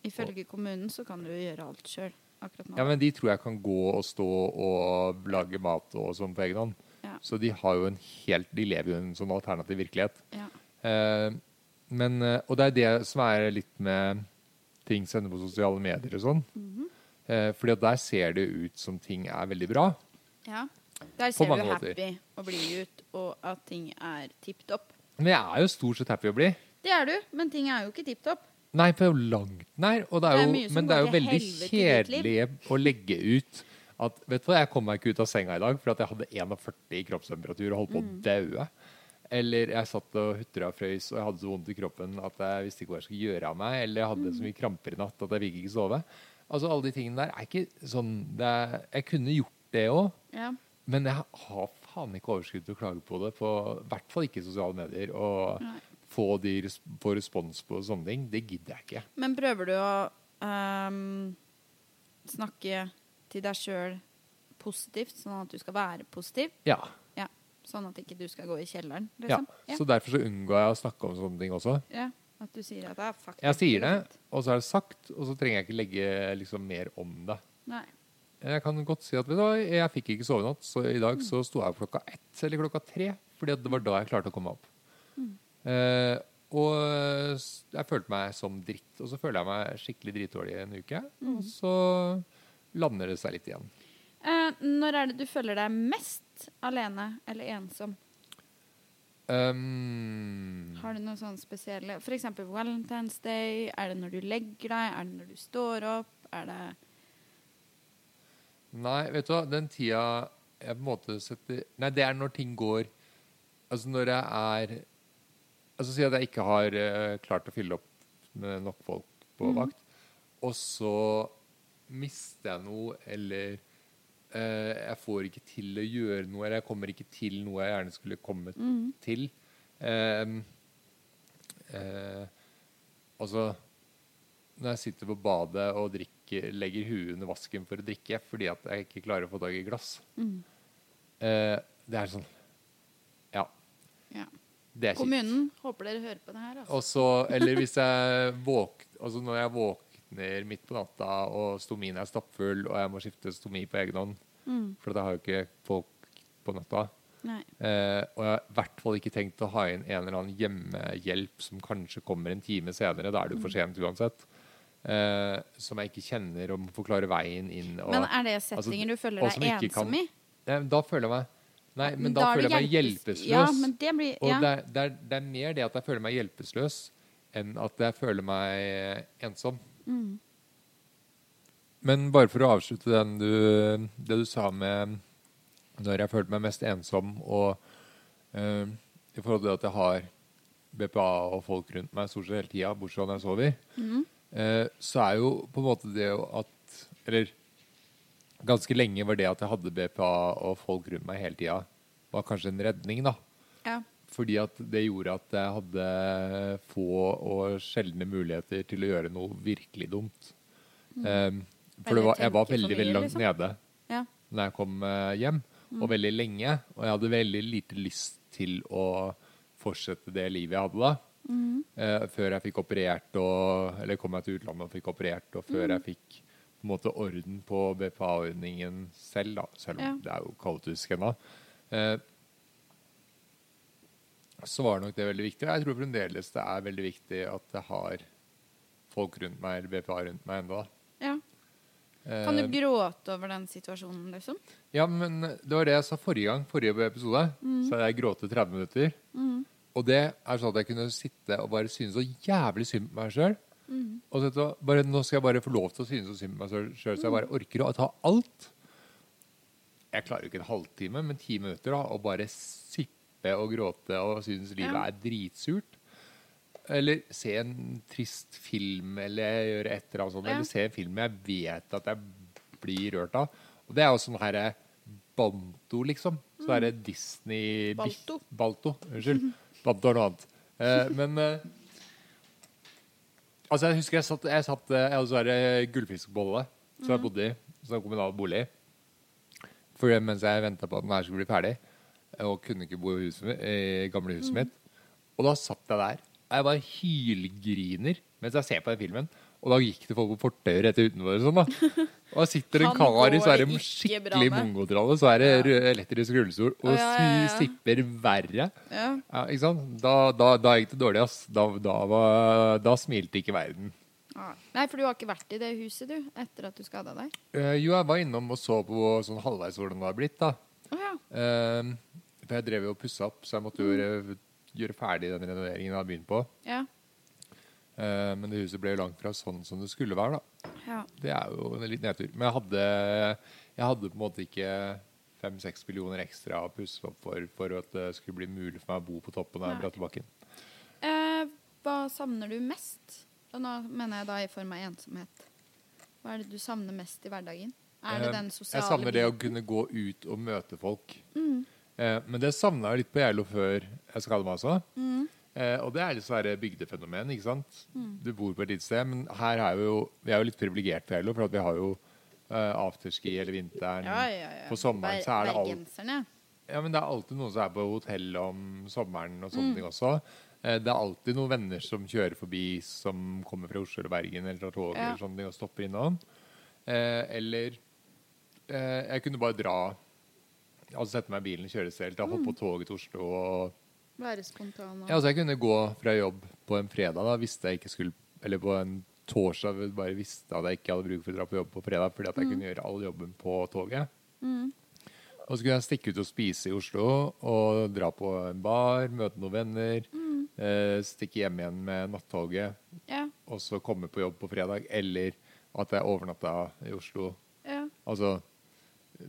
B: Ifølge kommunen så kan du jo gjøre alt sjøl akkurat nå.
A: Ja, men de tror jeg kan gå og stå og lage mat og sånn på egen hånd.
B: Ja.
A: Så de har jo en helt De lever jo i en sånn alternativ virkelighet.
B: Ja.
A: Eh, men, eh, og det er det som er litt med ting som hender på sosiale medier og sånn. eh, fordi at der ser det ut som ting er veldig bra.
B: Ja. Der ser du
A: mange måter.
B: happy og blid ut, og at ting er tipp topp.
A: Men jeg er jo stort sett happy å bli.
B: Det er du, men ting er jo ikke tipp topp.
A: Nei, for det er jo langt nær. Og det er
B: Det er
A: jo,
B: mye som
A: men det er
B: går
A: jo
B: til
A: veldig
B: helvete i ditt
A: kjedelig å legge ut at Vet du hva, jeg kom meg ikke ut av senga i dag fordi at jeg hadde 41 i kroppstemperatur og holdt på å
B: Mm.
A: daue. Eller jeg satt og hutra og frøys og jeg hadde så vondt i kroppen at jeg visste ikke hva jeg skulle gjøre av meg. Eller jeg hadde så
B: Mm.
A: mye kramper i natt at jeg fikk ikke sove. Altså Alle de tingene der er ikke sånn det er, Jeg kunne gjort det òg,
B: Ja.
A: men jeg har faen ikke overskudd til å klage på det. På i hvert fall ikke i sosiale medier. Og
B: Nei.
A: få, de, res- få respons på sånne ting, det gidder jeg ikke.
B: Men prøver du å ehm, snakke til deg sjøl positivt, sånn at du skal være positiv?
A: Ja.
B: Ja. Sånn at ikke du skal gå i kjelleren,
A: ja.
B: liksom? Ja.
A: Så derfor så unngår jeg å snakke om sånne ting også.
B: ja. At du sier at det er faktisk
A: Jeg sier det,
B: fint.
A: og så er det sagt, og så trenger jeg ikke legge liksom, mer om det.
B: Nei.
A: Jeg kan godt si at vet du, hva, jeg fikk ikke sove i natt, så i dag så sto jeg opp klokka ett eller klokka tre, fordi at det var da jeg klarte å komme meg opp. Eh, og s- jeg følte meg som dritt, og så føler jeg meg skikkelig dritdårlig en uke. Og så lander det seg litt igjen.
B: Eh, når er det du føler deg mest alene eller ensom?
A: Um,
B: Har du noen sånne spesielle For eksempel Valentine's Day. Er det når du legger deg? Er det når du står opp? Er det
A: Nei, vet du hva, den tida jeg på en måte setter Nei, det er når ting går Altså når jeg er Altså si at jeg ikke har eh, klart å fylle opp med nok folk på vakt, og så mister jeg noe, eller eh, jeg får ikke til å gjøre noe, eller jeg kommer ikke til noe jeg gjerne skulle kommet til. Ehm, eh, altså når jeg sitter på badet og drikker, legger huet under vasken for å drikke fordi at jeg ikke klarer å få tak i glass.
B: Mm.
A: Eh, det er sånn Ja.
B: Ja.
A: Det er kjipt.
B: Kommunen håper dere hører på det her. Altså.
A: Og så- Eller hvis jeg våk, altså når jeg våkner midt på natta og stomien er stappfull, og jeg må skifte stomi på egen hånd, for det har jo ikke folk på natta.
B: Mm. Nei.
A: Eh, og jeg har i hvert fall ikke tenkt å ha inn en eller annen hjemmehjelp som kanskje kommer en time senere. Da er det jo for
B: Mm.
A: sent uansett. Eh, som jeg ikke kjenner og må forklare veien inn. Og,
B: Men er det
A: altså,
B: settinger du føler
A: og
B: deg
A: som ikke
B: ensom
A: kan-
B: i?
A: Nei, men da føler jeg meg Nei, men da,
B: er
A: føler jeg
B: det
A: meg
B: hjelpes-
A: hjelpeløs.
B: Ja, men det blir,
A: Og
B: ja.
A: det er, det, er, det er mer det at jeg føler meg hjelpeløs, enn at jeg føler meg eh, ensom. Men bare for å avslutte den du, det du sa med når jeg følte meg mest ensom, og eh, i forhold til at jeg har BPA og folk rundt meg stort sett hele tida, bortsett fra når jeg sover, eh, så er jo på en måte det jo at Eller ganske lenge var det at jeg hadde BPA og folk rundt meg hele tida, var kanskje en redning, da.
B: ja.
A: Fordi at det gjorde at jeg hadde få og sjeldne muligheter til å gjøre noe virkelig dumt. Um, for det
B: Eller
A: var, jeg var
B: tenke for
A: veldig,
B: mye,
A: veldig langt
B: liksom.
A: nede
B: ja.
A: når jeg kom eh, hjem, og veldig lenge. Og jeg hadde veldig lite lyst til å fortsette det livet jeg hadde da. Eh, før jeg fikk operert, og, eller kom meg til utlandet og fikk operert, og før jeg fikk på en måte orden på BPA-ordningen selv, da, selv om
B: Ja.
A: det er jo kaotisk ennå. Eh, så var nok det veldig viktig. Og jeg tror fremdeles det er veldig viktig at jeg har folk rundt meg, eller BPA rundt meg ennå. da.
B: ja. Kan
A: Eh,
B: du gråte over den situasjonen, liksom?
A: ja, men det var det jeg sa forrige gang, forrige episode. Så hadde jeg gråte 30 minutter. Og det er sånn at jeg kunne sitte og bare synes så jævlig synd på meg sjøl.
B: Mm.
A: Og så vet du hva, bare, nå skal jeg bare få lov til å synes så synd på meg sjøl, så jeg bare orker å ta alt. Jeg klarer jo ikke en halvtime, men ti minutter da, og bare sippe og gråte og synes livet
B: Ja.
A: er dritsurt. Eller se en trist film, eller gjøre et eller annet sånt.
B: Ja.
A: Eller se en film jeg vet at jeg blir rørt av. Og det er jo sånn her eh, Banto, liksom. Så
B: Mm.
A: er det Disney
C: Balto.
A: Balto, unnskyld. Banto er noe annet. Eh, men eh, Altså, jeg husker jeg satt, jeg satt eh, Jeg hadde sånn her, eh, gullfiskbolle som jeg bodde i. Sånn kommunal bolig. For det- mens jeg venta på at den her skulle bli ferdig, og kunne ikke bo i huset, mitt- i gamle
B: Mm.
A: huset mitt. Og da satt jeg der. og Jeg bare hylgriner mens jeg ser på den filmen. Og da gikk det folk på fortauet rett utenfor. og Sånn, da. Og da sitter en
B: Han
A: kar i
B: går
A: så er
B: det
A: det
B: ikke bra
A: skikkelig
B: med.
A: mongotralle, så er det rød- elektrisk rullestol, og
B: Å, ja, ja, ja.
A: si- sipper verre.
B: Ja.
A: Ja, ikke sant? Da, da, da gikk det dårlig, ass. Da, da, var, da smilte ikke verden.
B: Ah. Nei, for du har ikke vært i det huset, du, etter at du skada deg.
A: Eh, jo, jeg var innom og så på sånn halvveis hvordan det har blitt, da.
B: Å ja.
A: Eh, for jeg drev jo og pussa opp, så jeg måtte jo
B: Mm.
A: gjøre, gjøre ferdig den renoveringen jeg hadde begynt på.
B: Ja.
A: Eh, men det huset ble jo langt fra sånn som det skulle være, da.
B: ja.
A: Det er jo en litt nedtur. Men jeg hadde, jeg hadde på en måte ikke fem-seks millioner ekstra å pusse opp for for at det skulle bli mulig for meg å bo på toppen av
B: Nei.
A: Brattebakken.
B: Eh, hva savner du mest? Og nå mener jeg da i form av ensomhet. Hva er det du savner mest i hverdagen? Er det
A: Eh,
B: den
A: jeg
B: sosiale
A: savner det å
B: biten?
A: kunne gå ut og møte folk.
B: Mm.
A: Eh, men det savna jeg litt på Geilo før jeg skadet meg også.
B: Mm.
A: Eh, og det er litt sånn her bygdefenomen, ikke sant? Du bor på et lite sted, men her er vi jo, vi er jo litt privilegert på Geilo, for at vi har jo eh, afterski hele vinteren.
B: Ja, ja, ja.
A: På sommeren så er det alt
B: Bergenserne.
A: Ja, men det er alltid noen som er på hotell om sommeren og sånne ting også. Eh, Det er alltid noen venner som kjører forbi som kommer fra Oslo eller Bergen eller tar tog
B: Ja.
A: eller sånne ting og stopper innom. Eh, Eller eh, jeg kunne bare dra Altså sette meg i bilen, kjøre selv, da hoppe på toget til Oslo og
B: Være spontan og
A: ja, altså Jeg kunne gå fra jobb på en fredag da, visste jeg ikke skulle Eller på en torsdag hvor jeg bare visste at jeg ikke hadde bruk for å dra på jobb på fredag, fordi at jeg kunne gjøre all jobben på toget. Og så kunne jeg stikke ut og spise i Oslo, og dra på en bar, møte noen venner. Eh, stikke hjem igjen med nattoget,
B: Ja.
A: og så komme på jobb på fredag. Eller at jeg overnatta i Oslo.
B: ja.
A: Altså eh,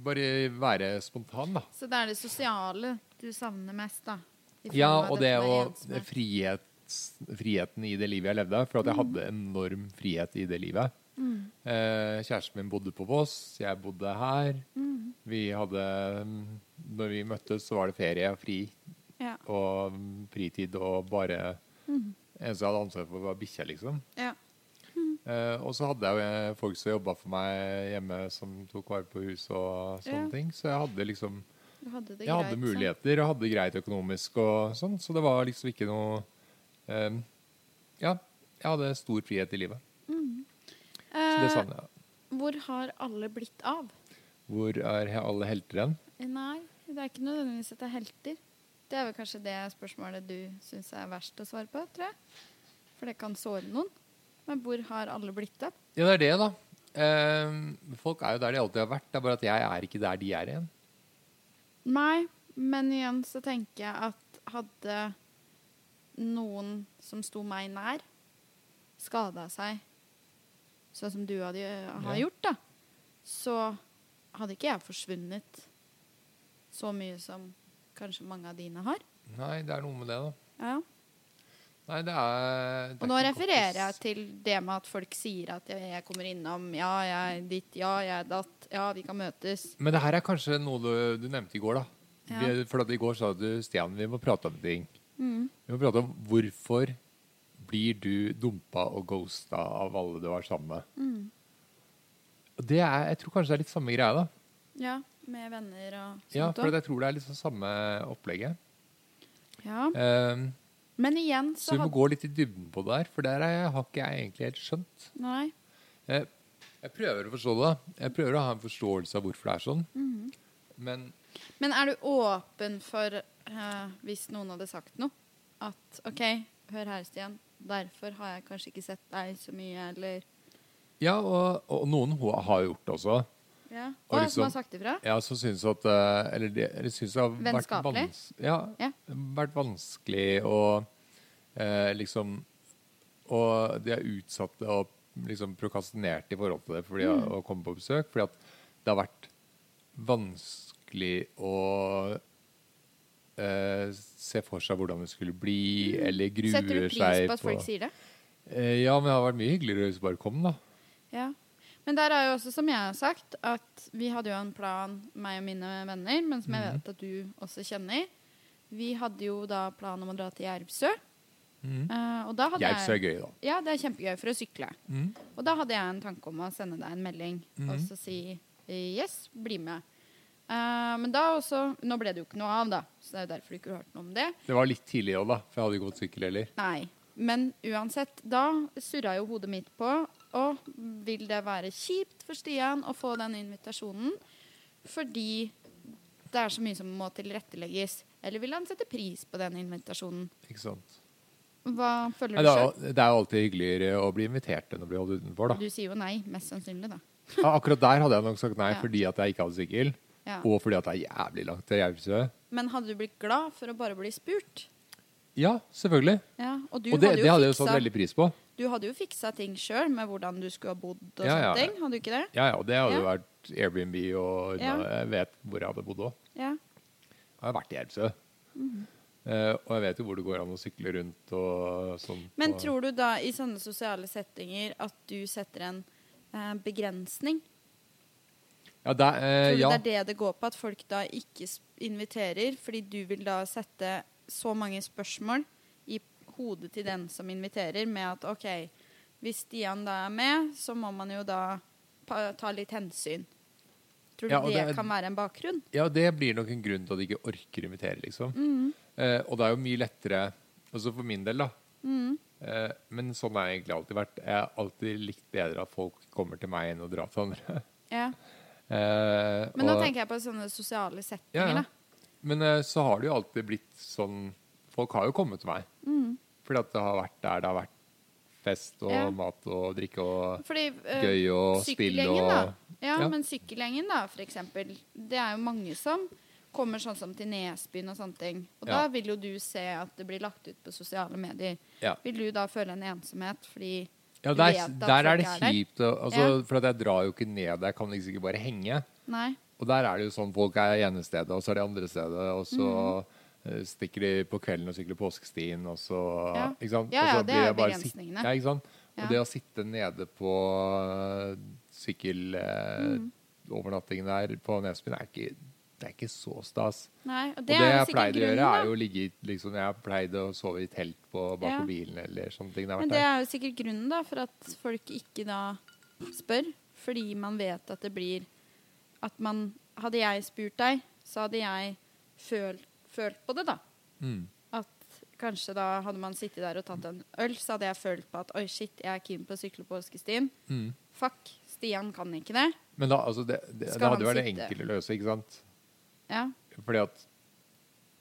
A: Bare være spontan, da.
B: Så det er det sosiale du savner mest, da? i form
A: Ja,
B: av
A: og det
B: dette med
A: og
B: ensomhet.
A: frihet, friheten i det livet jeg levde. For
B: Mm.
A: at jeg hadde enorm frihet i det livet. Eh, kjæresten min bodde på Voss, jeg bodde her. Vi hadde mm, Når vi møttes, så var det ferie og fri.
B: Ja.
A: Og mm, fritid og bare
B: Mm.
A: En som jeg hadde ansvar for, var bikkja, liksom.
B: Ja.
A: Eh, og så hadde jeg jo eh, folk som jobba for meg hjemme, som tok vare på huset og sånne
B: Ja.
A: ting. Så jeg hadde liksom
B: Du hadde det
A: jeg
B: greit.
A: hadde
B: sånn.
A: muligheter og hadde det greit økonomisk og sånn, så det var liksom ikke noe ehm, Ja, jeg hadde stor frihet i livet. Så det
B: Eh,
A: savner jeg.
B: Hvor har alle blitt av?
A: Hvor er he- alle helter hen?
B: Eh, Nei, det er ikke nødvendigvis at det er helter. Det er vel kanskje det spørsmålet du syns er verst å svare på, tror jeg. For det kan såre noen. Men hvor har alle blitt av?
A: Ja, det er det, da. Ehm, folk er jo der de alltid har vært. Det er bare at jeg er ikke der de er igjen.
B: Nei, men igjen så tenker jeg at hadde noen som sto meg nær, skada seg sånn som du hadde, har
A: Ja.
B: gjort, da, så hadde ikke jeg forsvunnet så mye som kanskje mange av dine har.
A: Nei, det er noe med det, da.
B: Ja.
A: Nei, det er det
B: Og
A: er
B: nå
A: ikke
B: refererer
A: godt å s-
B: jeg til det med at folk sier at jeg, jeg kommer innom, ja, jeg er ditt, ja, jeg er datt, ja, vi kan møtes.
A: Men det her er kanskje noe du, du nevnte i går, da.
B: Ja.
A: Vi- For at i går sa du Stian, vi må prate om ting. Vi må prate om hvorfor blir du dumpa og ghosta av alle du var sammen med. Og Det er, jeg tror kanskje det er litt samme greia, da.
B: Ja, med venner og sånt.
A: Ja, for
B: også.
A: jeg tror det er litt sånn samme opplegget.
B: ja.
A: Ehm,
B: Men igjen
A: så
B: så
A: vi må
B: hadde
A: gå litt i dybden på det her, for der er- har ikke jeg egentlig helt skjønt.
B: Nei.
A: Jeg, jeg prøver å forstå det. da. Jeg prøver å ha en forståelse av hvorfor det er sånn. Men
B: Men er du åpen for, eh, hvis noen hadde sagt noe, at OK, hør her, Stian, derfor har jeg kanskje ikke sett deg så mye, eller
A: Ja, og, og noen ho- har gjort det også.
B: ja.
A: Og
B: Hva er det som
A: liksom-
B: har sagt ifra?
A: Ja, som syns at eh, Eller, de, eller syns det har vært,
B: Vennskapelig?
A: vans ja,
B: Ja.
A: vært vanskelig å eh, liksom Og de er utsatte og liksom prokastinerte i forhold til det fordi
B: Mm.
A: å komme på besøk. Fordi at det har vært vanskelig å eh, se for seg hvordan det skulle bli, eller gruer seg
B: Mm. Setter du pris på at folk sier det?
A: Eh, Ja, men det har vært mye hyggeligere hvis du bare kom, da.
B: Ja. Men der er jo også, som jeg har sagt, at vi hadde jo en plan, meg og mine venner, men som jeg
A: Mhm.
B: vet at du også kjenner. Vi hadde jo da plan om å dra til Jervsø. Eh, og da hadde
A: Jeg syns det
B: jeg
A: Mhm. er gøy, da.
B: Ja, det er kjempegøy for å sykle.
A: Mhm.
B: Og da hadde jeg en tanke om å sende deg en melding og så si yes, bli med. Eh, men da også Nå ble det jo ikke noe av, da, så det er jo derfor du ikke hørte noe om det.
A: Det var litt tidlig òg, da, for jeg hadde ikke fått sykkel heller.
B: Nei. Men uansett, da surra jo hodet mitt på Og vil det være kjipt for Stian å få den invitasjonen fordi det er så mye som må tilrettelegges? Eller vil han sette pris på den invitasjonen?
A: Ikke sant?
B: Hva føler
A: Nei,
B: du
A: det,
B: sjøl?
A: er, jo- det er jo alltid hyggeligere å bli invitert enn å bli holdt utenfor. da.
B: Du sier jo nei, mest sannsynlig, da.
A: Ja, akkurat der hadde jeg nok sagt nei
B: Ja.
A: fordi at jeg ikke hadde sykkel,
B: Ja.
A: og fordi at det er jævlig langt til Jervsø.
B: Men hadde du blitt glad for å bare bli spurt?
A: Ja, selvfølgelig.
B: Ja, og du
A: og det,
B: hadde jo
A: det hadde jeg jo
B: fiksa,
A: satt veldig pris på.
B: Du hadde jo fiksa ting sjøl med hvordan du skulle ha bodd og
A: Ja, ja.
B: sånne ting. Hadde du ikke det?
A: Ja, ja, og det hadde jo
B: Ja.
A: vært Airbnb og unna.
B: Ja.
A: Jeg vet hvor jeg hadde bodd òg.
B: Ja.
A: Jeg har vært i Jervsø.
B: Mm.
A: Eh, og jeg vet jo hvor det går an å sykle rundt og sånn.
B: Men
A: på-
B: tror du da i sånne sosiale settinger at du setter en eh, begrensning?
A: Ja, der, eh,
B: Tror du
A: ja.
B: det er det det går på, at folk da ikke s- inviterer fordi du vil da sette så mange spørsmål i hodet til den som inviterer, med at OK, hvis Stian da er med, så må man jo da pa- ta litt hensyn. Tror du
A: Ja, og
B: det,
A: det er-
B: kan være en bakgrunn?
A: Ja, det blir nok en grunn til at de ikke orker invitere, liksom.
B: Mm.
A: Eh, og det er jo mye lettere Altså for min del, da.
B: Mm.
A: Eh, men sånn har jeg egentlig alltid vært. Jeg har alltid likt bedre at folk kommer til meg enn å dra til andre.
B: Ja.
A: Eh,
B: Men nå
A: og-
B: tenker jeg på sånne sosiale
A: ja,
B: settinger,
A: ja.
B: da.
A: Men eh, så har det jo alltid blitt sånn Folk har jo kommet til meg. Fordi at det har vært der det har vært fest og
B: Mm. Ja.
A: mat og drikke og
B: Fordi eh,
A: gøy og spill
B: sykkelgjengen,
A: og
B: da. Ja,
A: Ja.
B: men sykkelgjengen, da, for eksempel. Det er jo mange som kommer sånn som til Nesbyen og sånne ting. Og
A: Ja.
B: da vil jo du se at det blir lagt ut på sosiale medier.
A: Ja.
B: Vil du da føle en ensomhet fordi
A: Ja,
B: du
A: der,
B: vet at
A: der er
B: folk
A: det
B: er der?
A: kjipt. og- Altså, For at jeg drar jo ikke ned. Jeg kan liksom ikke bare henge.
B: Nei.
A: Og der er det jo sånn folk er ene stedet, og så er de andre stedet, og så
B: Mm.
A: eh, stikker de på kvelden og sykler påskestien, og så
B: Ja.
A: Ikke sant?
B: Ja,
A: og så
B: ja, det
A: blir
B: er
A: jeg bare
B: begrensningene.
A: sitt- Ja, ikke sant?
B: Ja.
A: Og det å sitte nede på eh,
B: Mm.
A: sykkelovernattingen der på Nesbyen er ikke det er ikke så stas.
B: Nei. Og det,
A: og det
B: er jo
A: jeg
B: sikkert
A: pleide å
B: grunnen,
A: gjøre, er jo
B: da.
A: å ligge i- liksom, Jeg pleide å sove i telt på, bak
B: Ja.
A: på bilen eller sånne ting. når jeg har
B: Men
A: vært
B: det
A: der.
B: er jo sikkert grunnen, da, for at folk ikke da spør. Fordi man vet at det blir At man Hadde jeg spurt deg, så hadde jeg følt, følt på det, da.
A: Mm.
B: At kanskje da hadde man sittet der og tatt en øl, så hadde jeg følt på at oi, shit, jeg er keen på å sykle på Åskestien.
A: Mm.
B: Fuck, Stian kan ikke det.
A: Men da, altså, det, det,
B: Skal
A: det
B: han
A: hadde jo vært det
B: sitte?
A: enkle å løse, ikke sant?
B: Ja.
A: Fordi at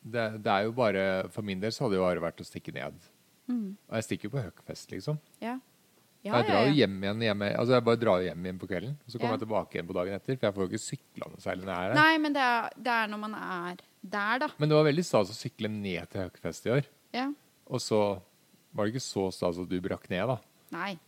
A: det, det er jo bare For min del så hadde det jo bare vært å stikke ned. Og jeg stikker jo på høkfest, liksom.
B: Mm. Ja.
A: jeg drar jo hjem igjen hjemme, altså jeg bare drar jo hjem igjen på kvelden. Og så kommer
B: Ja.
A: jeg tilbake igjen på dagen etter, for jeg får jo ikke sykla noe særlig når jeg er her.
B: Nei, men det er, det er når man er der, da.
A: Men det var veldig stas å sykle ned til høkfest i år.
B: Ja.
A: Og så var det ikke så stas at du brakk ned, da.
B: Nei.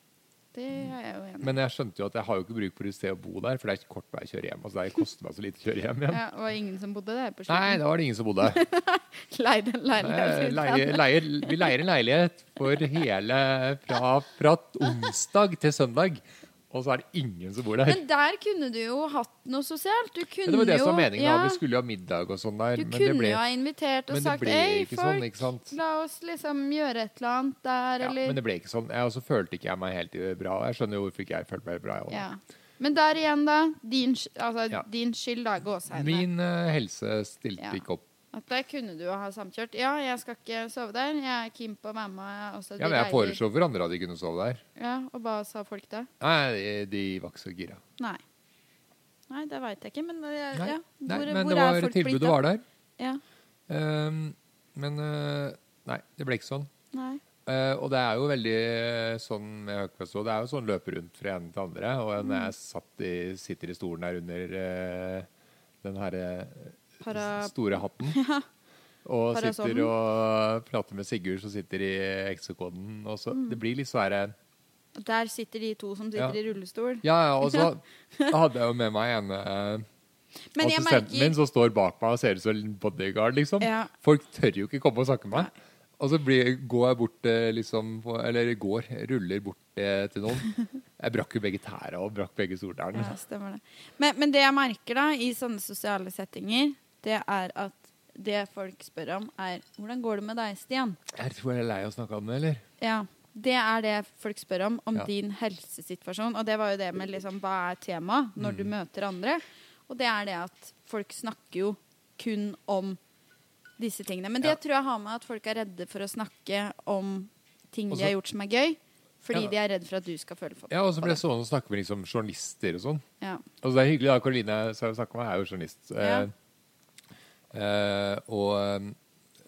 B: Det er jeg jo enig i.
A: Men jeg skjønte jo at jeg har jo ikke bruk for et sted å bo der, for det er ikke kort vei å kjøre hjem. Altså det koster meg så lite å kjøre hjem igjen.
B: Ja, og ingen som bodde der
A: Nei,
B: på slutten?
A: da var det ingen som bodde her.
B: Leide en
A: Eh,
B: leilighet.
A: leie- leier, vi leier en leilighet for hele fra, fra onsdag til søndag, og så er det ingen som bor der.
B: Men der kunne du jo hatt noe sosialt. Du kunne
A: Men det var det som var
B: jo-
A: meningen. da.
B: ja,
A: Vi skulle jo ha middag og sånn der.
B: Du
A: Men det
B: kunne
A: ble,
B: jo ha invitert og
A: men det
B: sagt
A: ble
B: Hei,
A: ikke
B: folk,
A: sånn, ikke sant?
B: la oss liksom gjøre et eller annet der,
A: ja,
B: eller
A: men det ble ikke sånn. Jeg også følte ikke jeg meg helt eh, bra. og Jeg skjønner jo hvorfor ikke jeg følte meg bra. Jeg, også.
B: ja. Men der igjen, da. Din, sky- altså,
A: Ja.
B: din skyld, da, gåsehendene.
A: Min eh, helse stilte
B: Ja.
A: ikke opp.
B: At der kunne du jo ha samkjørt. Ja, jeg skal ikke sove der. Jeg er keen på å være med. Også,
A: Ja, men jeg foreslo for andre at de kunne sove der.
B: Ja, og hva sa folk da?
A: Nei, de, de var ikke så gira.
B: Nei. Nei, det veit jeg ikke, men det,
A: Nei,
B: ja.
A: nei,
B: hvor,
A: men
B: hvor
A: det
B: er
A: var
B: folk blitt
A: tilbudet
B: av?
A: var der.
B: Ja.
A: Ehm, men eh, nei, det ble ikke sånn.
B: Nei.
A: Eh, og det er jo veldig eh, sånn med Høgfest også, det er jo sånn løpe rundt fra ene til andre. Og når jeg satt i, sitter i stolen her under eh, den her eh,
B: Para-
A: s- store hatten og
B: Parasollen.
A: sitter og prater med Sigurd som sitter i eksekoden, og så Det blir litt sånn herre
B: Der sitter de to som sitter
A: Ja.
B: i rullestol.
A: Ja, ja, og så hadde jeg jo med meg ene eh,
B: Men jeg
A: assistenten min
B: merker
A: som står bak meg og ser ut som en bodyguard, liksom.
B: Ja.
A: Folk tør jo ikke komme og snakke med meg. Og så blir, går jeg bort eh, liksom på- Eller går, ruller bort eh, til noen. Jeg brakk jo begge tæra og brakk begge soltærne.
B: ja, stemmer det. Men, men det jeg merker da, i sånne sosiale settinger, det er at det folk spør om, er 'Hvordan går det med deg, Stian?'
A: Jeg tror jeg er lei av å snakke om det, eller?
B: Ja, Det er det folk spør om, om
A: Ja.
B: din helsesituasjon. Og det var jo det med liksom, hva er temaet når
A: Mm.
B: du møter andre. Og det er det at folk snakker jo kun om disse tingene. Men det
A: Ja.
B: tror jeg har med at folk er redde for å snakke om ting
A: Og
B: de har
A: så-
B: gjort som er gøy, fordi
A: Ja.
B: de er redd for at du skal føle for
A: Ja, og så ble jeg stående og snakke med liksom, journalister og sånn.
B: Ja.
A: Altså, det er hyggelig, da. Karoline som jeg snakker med, er jo journalist.
B: Ja.
A: Eh, eh, og,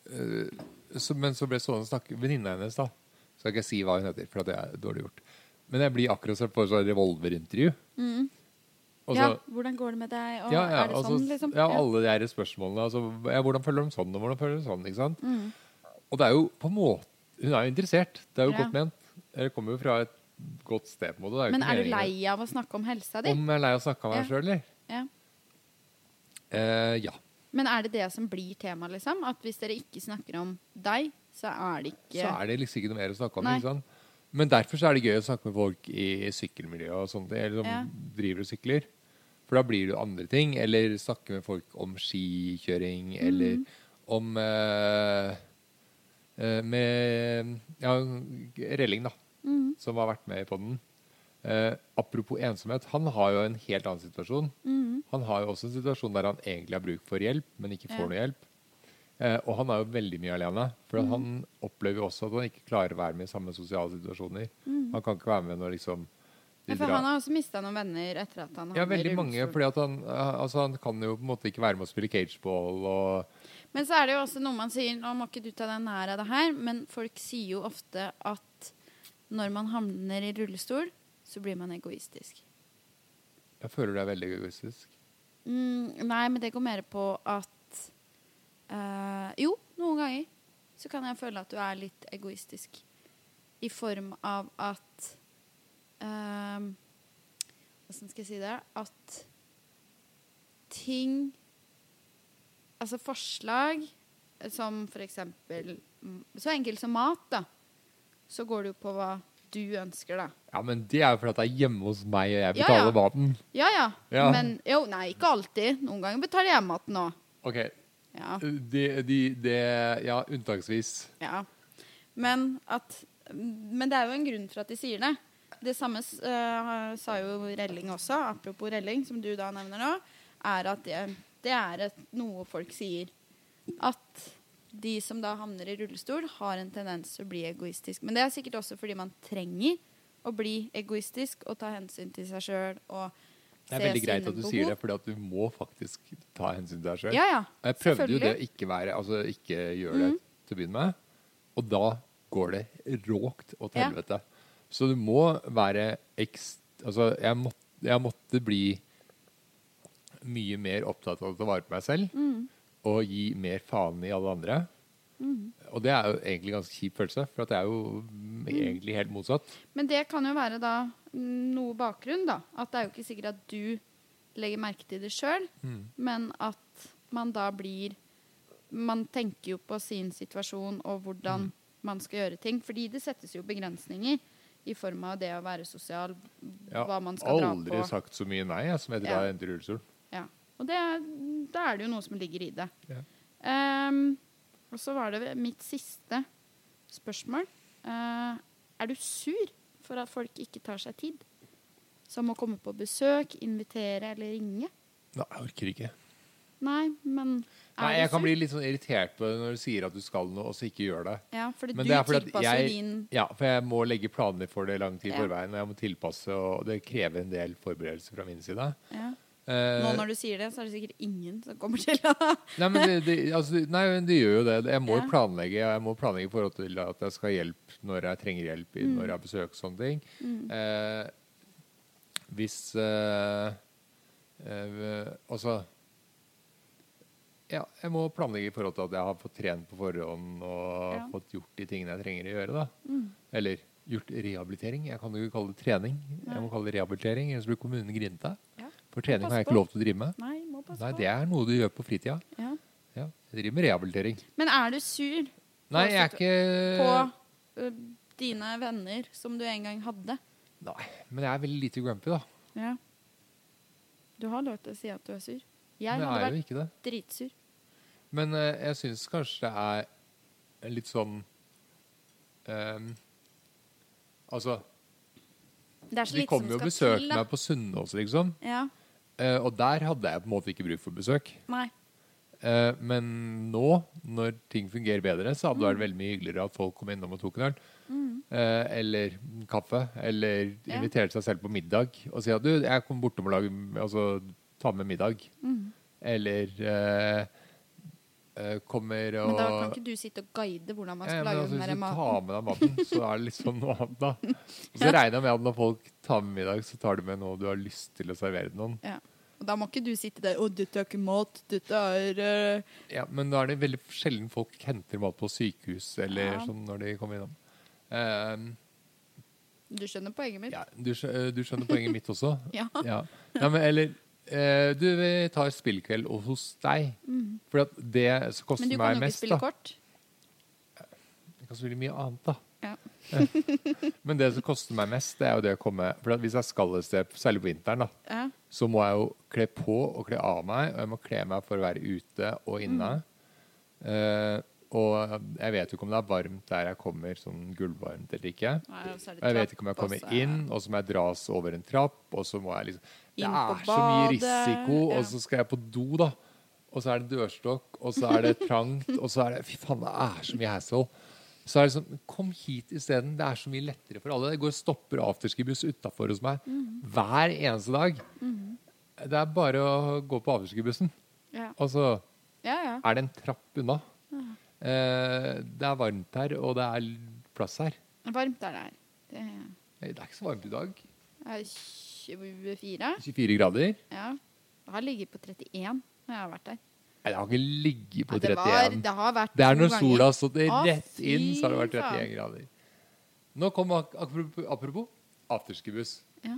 A: eh, så, men så ble jeg stående og snakke Venninna hennes, da. Så skal ikke jeg si hva hun heter, for at det er dårlig gjort. Men jeg blir akkurat som på et sånt revolverintervju. Og
B: Mm. ja,
A: så-
B: hvordan går det med deg, og
A: ja, ja,
B: er det
A: altså,
B: sånn, liksom?
A: ja, alle de her spørsmålene. Altså, ja, hvordan føler de sånn, og hvordan føler de sånn? ikke sant?
B: Mm.
A: Og det er jo på en måte Hun er jo interessert. Det er jo
B: Ja.
A: godt ment. Det kommer jo fra et godt sted. på en måte. Det er jo
B: Men
A: ikke
B: er du
A: meningen.
B: lei av å snakke om helsa di?
A: Om jeg er lei av å snakke om meg
B: Ja.
A: sjøl, eller?
B: Ja.
A: Eh, ja.
B: Men er det det som blir tema, liksom? At hvis dere ikke snakker om deg, så er det ikke
A: Så er det liksom ikke noe mer å snakke om.
B: Nei.
A: ikke sant? Men derfor så er det gøy å snakke med folk i sykkelmiljøet og sånt. Eller som
B: Ja.
A: driver og sykler. For da blir det jo andre ting. Eller snakke med folk om skikjøring,
B: Mhm.
A: eller om eh, eh, Med ja, Relling, da.
B: Mhm.
A: Som har vært med i podden. Eh, apropos ensomhet. Han har jo en helt annen situasjon.
B: Mm.
A: Han har jo også en situasjon der han egentlig har bruk for hjelp, men ikke får
B: Ja. Mm.
A: noe hjelp. Eh, og han er jo veldig mye alene. For han opplever jo også at han ikke klarer å være med i samme sosiale situasjoner. Han kan ikke være med når liksom de
B: Mm. Ja, For
A: drar-
B: han har også mista noen venner etter at han
A: ja,
B: havner i
A: veldig mange.
B: rullestol.
A: fordi at han, eh, altså, han kan jo på en måte ikke være med å spille cageball og
B: Men så er det jo også noe man sier Nå må ikke du ta deg nær av det her, men folk sier jo ofte at når man havner i rullestol, så blir man egoistisk.
A: Jeg føler det er veldig egoistisk.
B: Mm, nei, men det går mer på at eh, Jo, noen ganger så kan jeg føle at du er litt egoistisk. I form av at um, Åssen skal jeg si det? At ting Altså forslag eh, som for eksempel mm, Så enkelt som mat, da. Så går det jo på hva du ønsker, da.
A: Ja, men det er jo fordi at det er hjemme hos meg, og jeg
B: Ja,
A: betaler
B: ja.
A: maten.
B: Ja ja.
A: Ja.
B: Men jo, nei, ikke alltid. Noen ganger betaler jeg maten òg.
A: Ok,
B: Ja.
A: de, de, de, Ja, unntaksvis.
B: Ja. Men, at, men det er jo en grunn for at de sier det. Det samme s- eh, sa jo Relling også, apropos Relling, som du da nevner nå, er at det, det er et, noe folk sier. At de som da havner i rullestol, har en tendens til å bli egoistisk. Men det er sikkert også fordi man trenger å bli egoistisk og ta hensyn til seg sjøl og
A: Det er veldig greit at du sier det, fordi at du må faktisk ta hensyn til deg sjøl.
B: Ja, ja.
A: jeg prøvde jo
B: Selvfølgelig. Mm.
A: det å ikke være Altså ikke gjøre det til å begynne med, og da går det råkt og til
B: Ja.
A: helvete. Så du må være ekst... Altså, jeg, må, jeg måtte bli mye mer opptatt av å ta vare på meg selv
B: Mm.
A: og gi mer faen i alle andre.
B: Mm.
A: Og det er jo egentlig en ganske kjip følelse, for at det er jo mm, egentlig helt motsatt.
B: Men det kan jo være da noe bakgrunn, da. At det er jo ikke sikkert at du legger merke til det sjøl, men at man da blir Man tenker jo på sin situasjon og hvordan man skal gjøre ting. Fordi det settes jo begrensninger i form av det å være sosial,
A: Jeg
B: hva
A: har
B: man skal dra
A: aldri
B: på.
A: sagt så mye nei jeg, som etter
B: Ja.
A: da jeg endte i rullestol.
B: Ja. Og det, er- da er det jo noe som ligger i det.
A: Ja.
B: Ehm, og så var det mitt siste spørsmål. Eh, er du sur for at folk ikke tar seg tid? Som å komme på besøk, invitere eller ringe?
A: Nei, jeg orker ikke.
B: Nei, men er
A: Nei, jeg
B: du
A: kan
B: sur?
A: bli litt sånn irritert på det når du sier at du skal noe, og så ikke gjør det.
B: Ja, fordi
A: Men
B: du
A: det er fordi
B: tilpasser
A: at jeg,
B: din
A: ja, for jeg må legge planer for det lang tid i
B: Ja.
A: forveien, og jeg må tilpasse, og det krever en del forberedelser fra min side.
B: ja.
A: Eh,
B: Nå når du sier det, så er det sikkert ingen som kommer til å
A: nei, men det, det, altså, nei, men det gjør jo det. Jeg må jo
B: Ja.
A: planlegge. og Jeg må planlegge i forhold til at jeg skal ha hjelp når jeg trenger hjelp,
B: Mm.
A: i- når jeg har besøk og sånne ting. Eh, hvis eh, eh, Altså Ja, jeg må planlegge i forhold til at jeg har fått trent på forhånd og
B: Ja. Mm.
A: fått gjort de tingene jeg trenger å gjøre. da. Eller gjort rehabilitering. Jeg kan jo ikke kalle det trening. Jeg må kalle det rehabilitering, ellers blir kommunen grinete.
B: Ja.
A: For trening har
B: Pass
A: jeg ikke
B: på.
A: lov til å drive med.
B: Nei, må passe
A: Nei,
B: på.
A: det er noe du gjør på fritida.
B: Ja.
A: Ja, jeg driver med rehabilitering.
B: Men er du sur
A: Nei, jeg er
B: på
A: ikke
B: ø, dine venner som du en gang hadde?
A: Nei, men jeg er veldig lite grumpy, da.
B: Ja. Du har lov til å si at du er sur.
A: Men
B: Jeg
A: jeg
B: hadde
A: er jo
B: vært
A: ikke det.
B: dritsur.
A: Men eh, jeg syns kanskje det er litt sånn ehm, Altså,
B: Det er så
A: de
B: lite som
A: kommer jo og
B: skal
A: besøker
B: til, da.
A: meg på Sunnaas, liksom.
B: Ja.
A: Eh, og der hadde jeg på en måte ikke bruk for besøk.
B: Nei.
A: Eh, Eh, men nå, når ting fungerer bedre, så hadde det
B: Mm.
A: vært veldig mye hyggeligere at folk kom innom og tok en øl. Eh, eller kaffe. Eller
B: Ja.
A: inviterte seg selv på middag og si at du, jeg kom bortom og lage, altså, ta med middag.
B: Mm.
A: Eller eh, eh, kommer og
B: Men da kan ikke du sitte og guide hvordan man
A: Ja,
B: skal
A: men
B: lage
A: altså,
B: den der
A: Hvis du tar
B: maten.
A: med deg maten, så er det liksom noe annet, da. Og så regner jeg med at når folk tar med middag, så tar de med noe du har lyst til å servere noen.
B: Ja. Og da må ikke du sitte der 'Å, dette er ikke mat. Dette er eh,
A: Ja, men da er det veldig sjelden folk henter mat på sykehus eller
B: Ja.
A: sånn når de kommer innom. Ehm,
B: Du skjønner poenget mitt?
A: ja, du, skjø- eh, du skjønner poenget mitt også?
B: Ja.
A: Ja. Nei, men, eller eh, Du, vi tar spillkveld og hos deg. For at det som koster
B: Mm. Men du kan
A: meg
B: jo ikke
A: mest, da
B: spille kort.
A: Jeg kan spille mye annet, da.
B: Ja.
A: Men det som koster meg mest, det er jo det å komme For at hvis jeg skal et sted, særlig på vinteren, da,
B: Ja.
A: så må jeg jo kle på og kle av meg, og jeg må kle meg for å være ute og inne. Eh, og jeg vet jo ikke om det er varmt der jeg kommer, sånn gullvarmt eller ikke.
B: Nei, og så er
A: Og
B: det
A: jeg vet
B: trapp,
A: ikke om jeg
B: og
A: kommer
B: så-
A: inn, og så må jeg dras over en trapp, og så må jeg liksom Det
B: Inn på
A: er så mye
B: badet,
A: risiko,
B: ja.
A: og så skal jeg på do, da. Og så er det dørstokk, og så er det trangt, og så er det Fy faen, det er så mye hassle. Så er det sånn Kom hit isteden. Det er så mye lettere for alle. Det går og stopper afterski-buss utafor hos meg
B: Mhm.
A: hver eneste dag. Det er bare å gå på afterski-bussen.
B: Ja.
A: Og så
B: ja, ja.
A: er det en trapp unna. Eh, det er varmt her, og det er l- plass her.
B: Varmt er det her. Det
A: Det er ikke så varmt i dag.
B: er 24.
A: 24 grader.
B: Ja. Det har ligget på 31 når jeg har vært der.
A: Nei, det har ikke ligget på
B: Ja, det,
A: 31.
B: var, det har vært
A: Det er når
B: to ganger.
A: sola har stått
B: Å,
A: rett
B: fy
A: inn, så har det vært
B: faen.
A: 31 grader. Nå kom ak apropos, apropos afterski-buss.
B: Ja.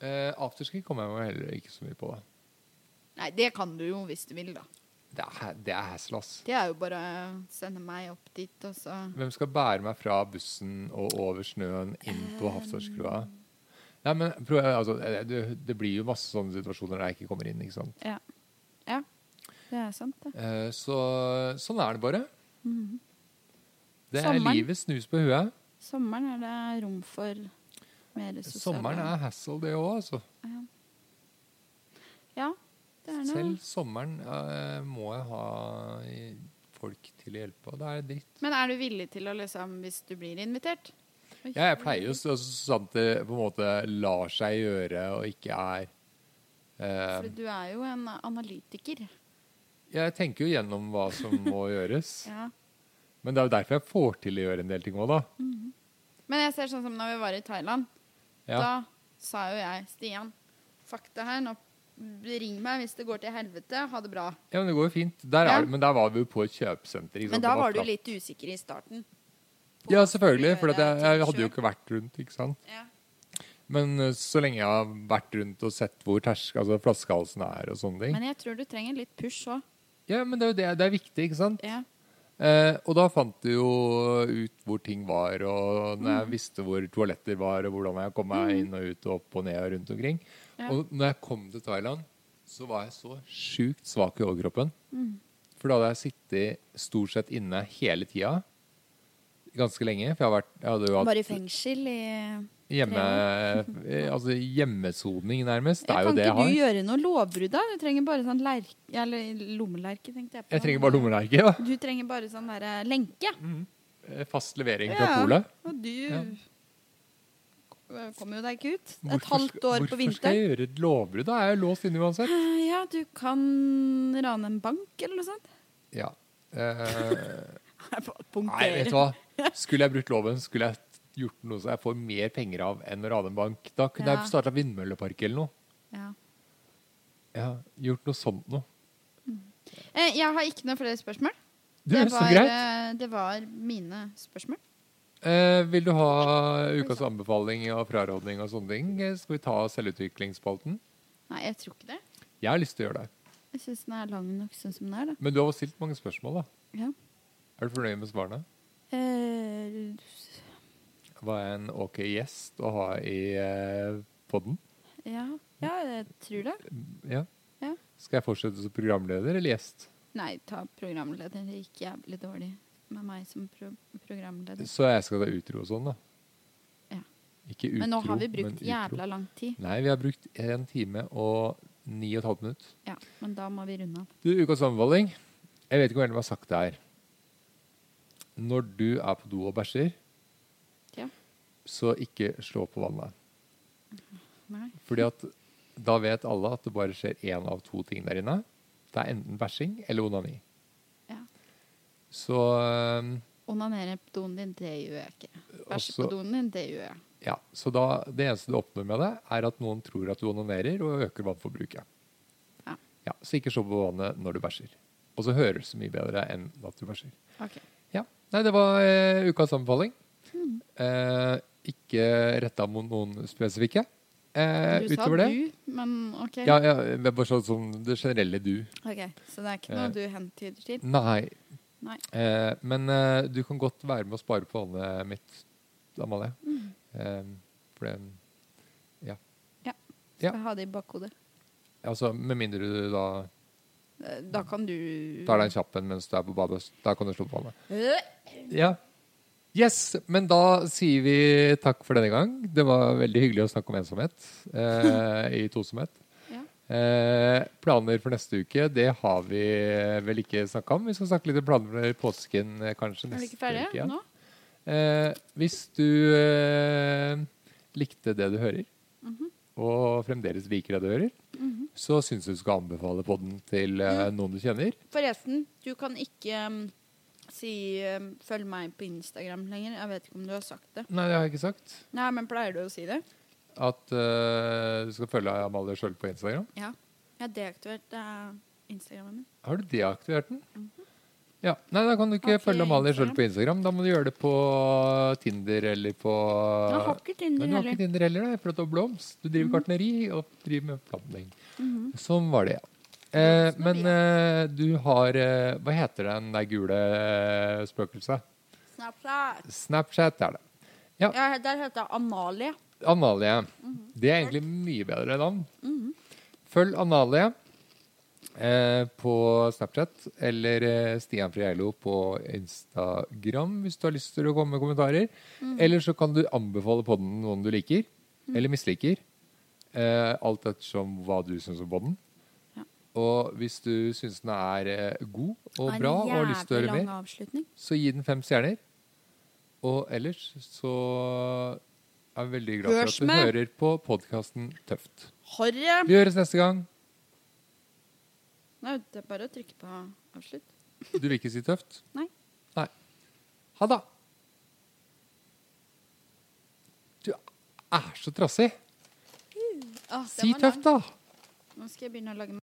A: Eh, afterski kommer jeg meg heller ikke så mye på. Da.
B: Nei, det kan du jo hvis du vil, da.
A: Det er, det er hassle, ass.
B: Det er jo bare å sende meg opp dit, og så
A: Hvem skal bære meg fra bussen og over snøen inn
B: Eh.
A: på Hafsårskroa? Nei, men prøv, altså, det, det blir jo masse sånne situasjoner der jeg ikke kommer inn. ikke sant?
B: Ja. ja. Det er sant, det.
A: Eh, så sånn er det bare. Det er
B: Mhm. Sommeren.
A: livet snus på huet.
B: Sommeren er det rom for mer sosiale
A: Sommeren er hassle, det òg, altså.
B: Ja, det er
A: Selv
B: noe.
A: sommeren eh, må jeg ha i- folk til å hjelpe, og det er dritt.
B: Men er du villig til å liksom Hvis du blir invitert? Oi.
A: Ja, jeg pleier jo så så sant det på en måte lar seg gjøre og ikke er eh,
B: For du er jo en analytiker.
A: Jeg tenker jo gjennom hva som må gjøres.
B: Ja.
A: Men det er jo derfor jeg får til å gjøre en del ting òg, da.
B: Men jeg ser sånn som når vi var i Thailand.
A: Ja.
B: Da sa jo jeg Stian, fuck det her. Nå ring meg hvis det går til helvete. Ha det bra.
A: ja, Men det går jo fint. Der
B: Ja.
A: er, det- men der var vi jo på et kjøpesenter. ikke sant?
B: Men da
A: Det
B: var du
A: flatt.
B: litt usikker i starten. på
A: Ja,
B: hva du skulle
A: selvfølgelig. For at
B: gjøre
A: jeg, jeg
B: til
A: hadde jo
B: selv.
A: ikke vært rundt, ikke sant.
B: Ja.
A: Men eh, så lenge jeg har vært rundt og sett hvor tersk, altså flaskehalsen er og sånne ting
B: Men jeg tror du trenger litt push òg.
A: Ja, men det er jo det. Det er viktig, ikke sant?
B: Ja.
A: Eh, og da fant du jo ut hvor ting var, og når
B: Mm.
A: jeg visste hvor toaletter var, og hvordan jeg kom meg inn og ut og opp og ned og rundt omkring.
B: Ja.
A: Og når jeg kom til Thailand, så var jeg så sjukt svak i overkroppen.
B: Mm.
A: For da hadde jeg sittet stort sett inne hele tida. Ganske lenge. For jeg, har vært, jeg hadde jo
B: Bare i
A: hatt
B: fengsel i
A: hjemme, eh, altså hjemmesoning, nærmest. Det er jo
B: Kan
A: det jeg
B: ikke du
A: har.
B: gjøre noe lovbrudd, da? Du trenger bare sånn lerke Eller lommelerke, tenkte jeg på.
A: Jeg trenger bare lommelerke. da.
B: Du trenger bare sånn derre lenke.
A: Eh, Fast levering fra polet.
B: Og du Eh, kommer jo deg ikke ut. Et
A: Hvorfor sk-
B: halvt år på
A: Hvorfor skal
B: vinteren.
A: jeg gjøre et lovbrudd? Da er jeg jo låst inne uansett.
B: Eh, Ja, du kan rane en bank eller noe sånt.
A: Ja. Eh,
B: Jeg bare
A: nei, vet
B: punkterer.
A: du hva? Skulle jeg brutt loven, skulle jeg gjort noe som jeg får mer penger av enn å rane en bank. Da kunne
B: Ja.
A: jeg starta vindmøllepark eller noe.
B: Ja.
A: Ja, gjort noe sånt noe.
B: Eh, Jeg har ikke noe flere spørsmål.
A: Du,
B: det,
A: så
B: var,
A: greit.
B: eh, det var mine spørsmål.
A: Eh, vil du ha ukas anbefaling og frarådning og sånne ting? Eh, Skal vi ta selvutviklingsspalten?
B: Nei, jeg tror ikke det.
A: Jeg har lyst til å gjøre det.
B: Jeg syns den er lang nok sånn som den er, da.
A: Men du har stilt mange spørsmål, da.
B: Ja.
A: Er du fornøyd med svarene?
B: Eh,
A: Var jeg en ok gjest å ha i eh, podden?
B: ja. ja, jeg tror det.
A: Ja.
B: Ja.
A: Skal jeg fortsette som programleder eller gjest?
B: Nei, ta programleder. Det gikk jævlig dårlig med meg som pro programleder.
A: Så jeg skal ta utro og sånn, da.
B: Ja.
A: Ikke utro,
B: Men nå har vi
A: men
B: brukt
A: utro.
B: jævla lang tid.
A: Nei, vi har brukt en time og ni og et halvt minutt.
B: Ja, men da må vi runde av.
A: Du, ukas anbefaling. Jeg vet ikke hvor de har sagt det her. Når du er på do og bæsjer,
B: Ja.
A: så ikke slå på vannet.
B: Nei.
A: Fordi at da vet alle at det bare skjer én av to ting der inne. Det er enten bæsjing eller onani.
B: Ja.
A: Så øhm,
B: Onanere på doen din, det gjør jeg ikke. Bæsje
A: Også-
B: på doen din, det gjør jeg.
A: ja. Så da, det eneste du oppnår med det, er at noen tror at du onanerer og øker vannforbruket.
B: Ja.
A: Ja, så ikke slå på vannet når du bæsjer. Og så høres det mye bedre enn at du bæsjer.
B: Ok.
A: Ja. Nei, det var eh, ukas anbefaling.
B: Hmm.
A: Eh, ikke retta mot noen spesifikke. Eh,
B: Du sa
A: utover det
B: du, men ok.
A: Ja, ja, men bare sånn som det generelle du.
B: Ok, Så det er ikke
A: Eh.
B: noe du hentyder til?
A: Nei.
B: Nei.
A: Eh, men eh, du kan godt være med å spare på vannet mitt, Amalie.
B: Hmm.
A: Eh, for det Ja.
B: Skal ha det i bakhodet.
A: Altså, med mindre du da
B: Eh, Da kan du
A: tar deg en kjapp en mens du er på badet. Da kan du slå på vannet.
B: Øh,
A: Ja. Yes, men da sier vi takk for denne gang. Det var veldig hyggelig å snakke om ensomhet eh, i tosomhet.
B: Ja.
A: Eh, planer for neste uke, det har vi vel ikke snakka om. Vi skal snakke litt om planer for påsken eh, kanskje
B: Er du
A: neste
B: ikke ferdig
A: uke.
B: nå?
A: Eh, hvis du eh, likte det du hører,
B: Mhm.
A: og fremdeles liker det du hører, så syns jeg du skal anbefale podden til eh,
B: Mm.
A: noen du kjenner.
B: Forresten, du kan ikke um, si um, 'følg meg på Instagram' lenger. Jeg vet ikke om du har sagt det.
A: Nei, det har jeg ikke sagt.
B: Nei, men pleier du å si det?
A: At eh, du skal følge Amalie sjøl på Instagram.
B: Ja. Jeg har deaktivert eh, Instagrammen min.
A: Har du deaktivert den? Ja, Nei, da kan du ikke
B: Har ikke
A: følge Amalie sjøl
B: Mhm. Instagram.
A: på Instagram. Da må du gjøre det på Tinder eller på
B: Jeg har ikke
A: Nei,
B: Tinder
A: du har ikke
B: heller. Mhm.
A: Tinder heller, da, for at du har blomst. Du driver gartneri og driver med planting. Sånn var det, ja. Eh, men eh, du har eh, Hva heter den der gule eh, spøkelset?
B: Snapchat.
A: Snapchat er det.
B: Ja, der heter jeg Amalie.
A: Analie.
B: Mhm.
A: Det er egentlig mye bedre navn. Følg Analie eh, på Snapchat eller eh, Stian Friello på Instagram hvis du har lyst til å komme med kommentarer.
B: Mhm.
A: Eller så kan du anbefale podden noen du liker eller misliker. Eh, alt ettersom hva du syns om podden.
B: Ja.
A: Og hvis du syns den er eh, god og
B: En
A: bra og har lyst til å
B: jævlig
A: høre mer,
B: lang avslutning.
A: så gi den fem stjerner. Og ellers så er vi veldig glad for at
B: Hørs
A: du
B: med!
A: hører på podkasten Tøft.
B: Harry!
A: Vi høres neste gang.
B: Nei, det er bare å trykke på avslutt.
A: Du vil ikke si tøft?
B: Nei.
A: Nei. Ha det. Du er så trassig.
B: Åh, den
A: Si
B: var lang.
A: tøft, da.
B: Nå skal jeg begynne å lage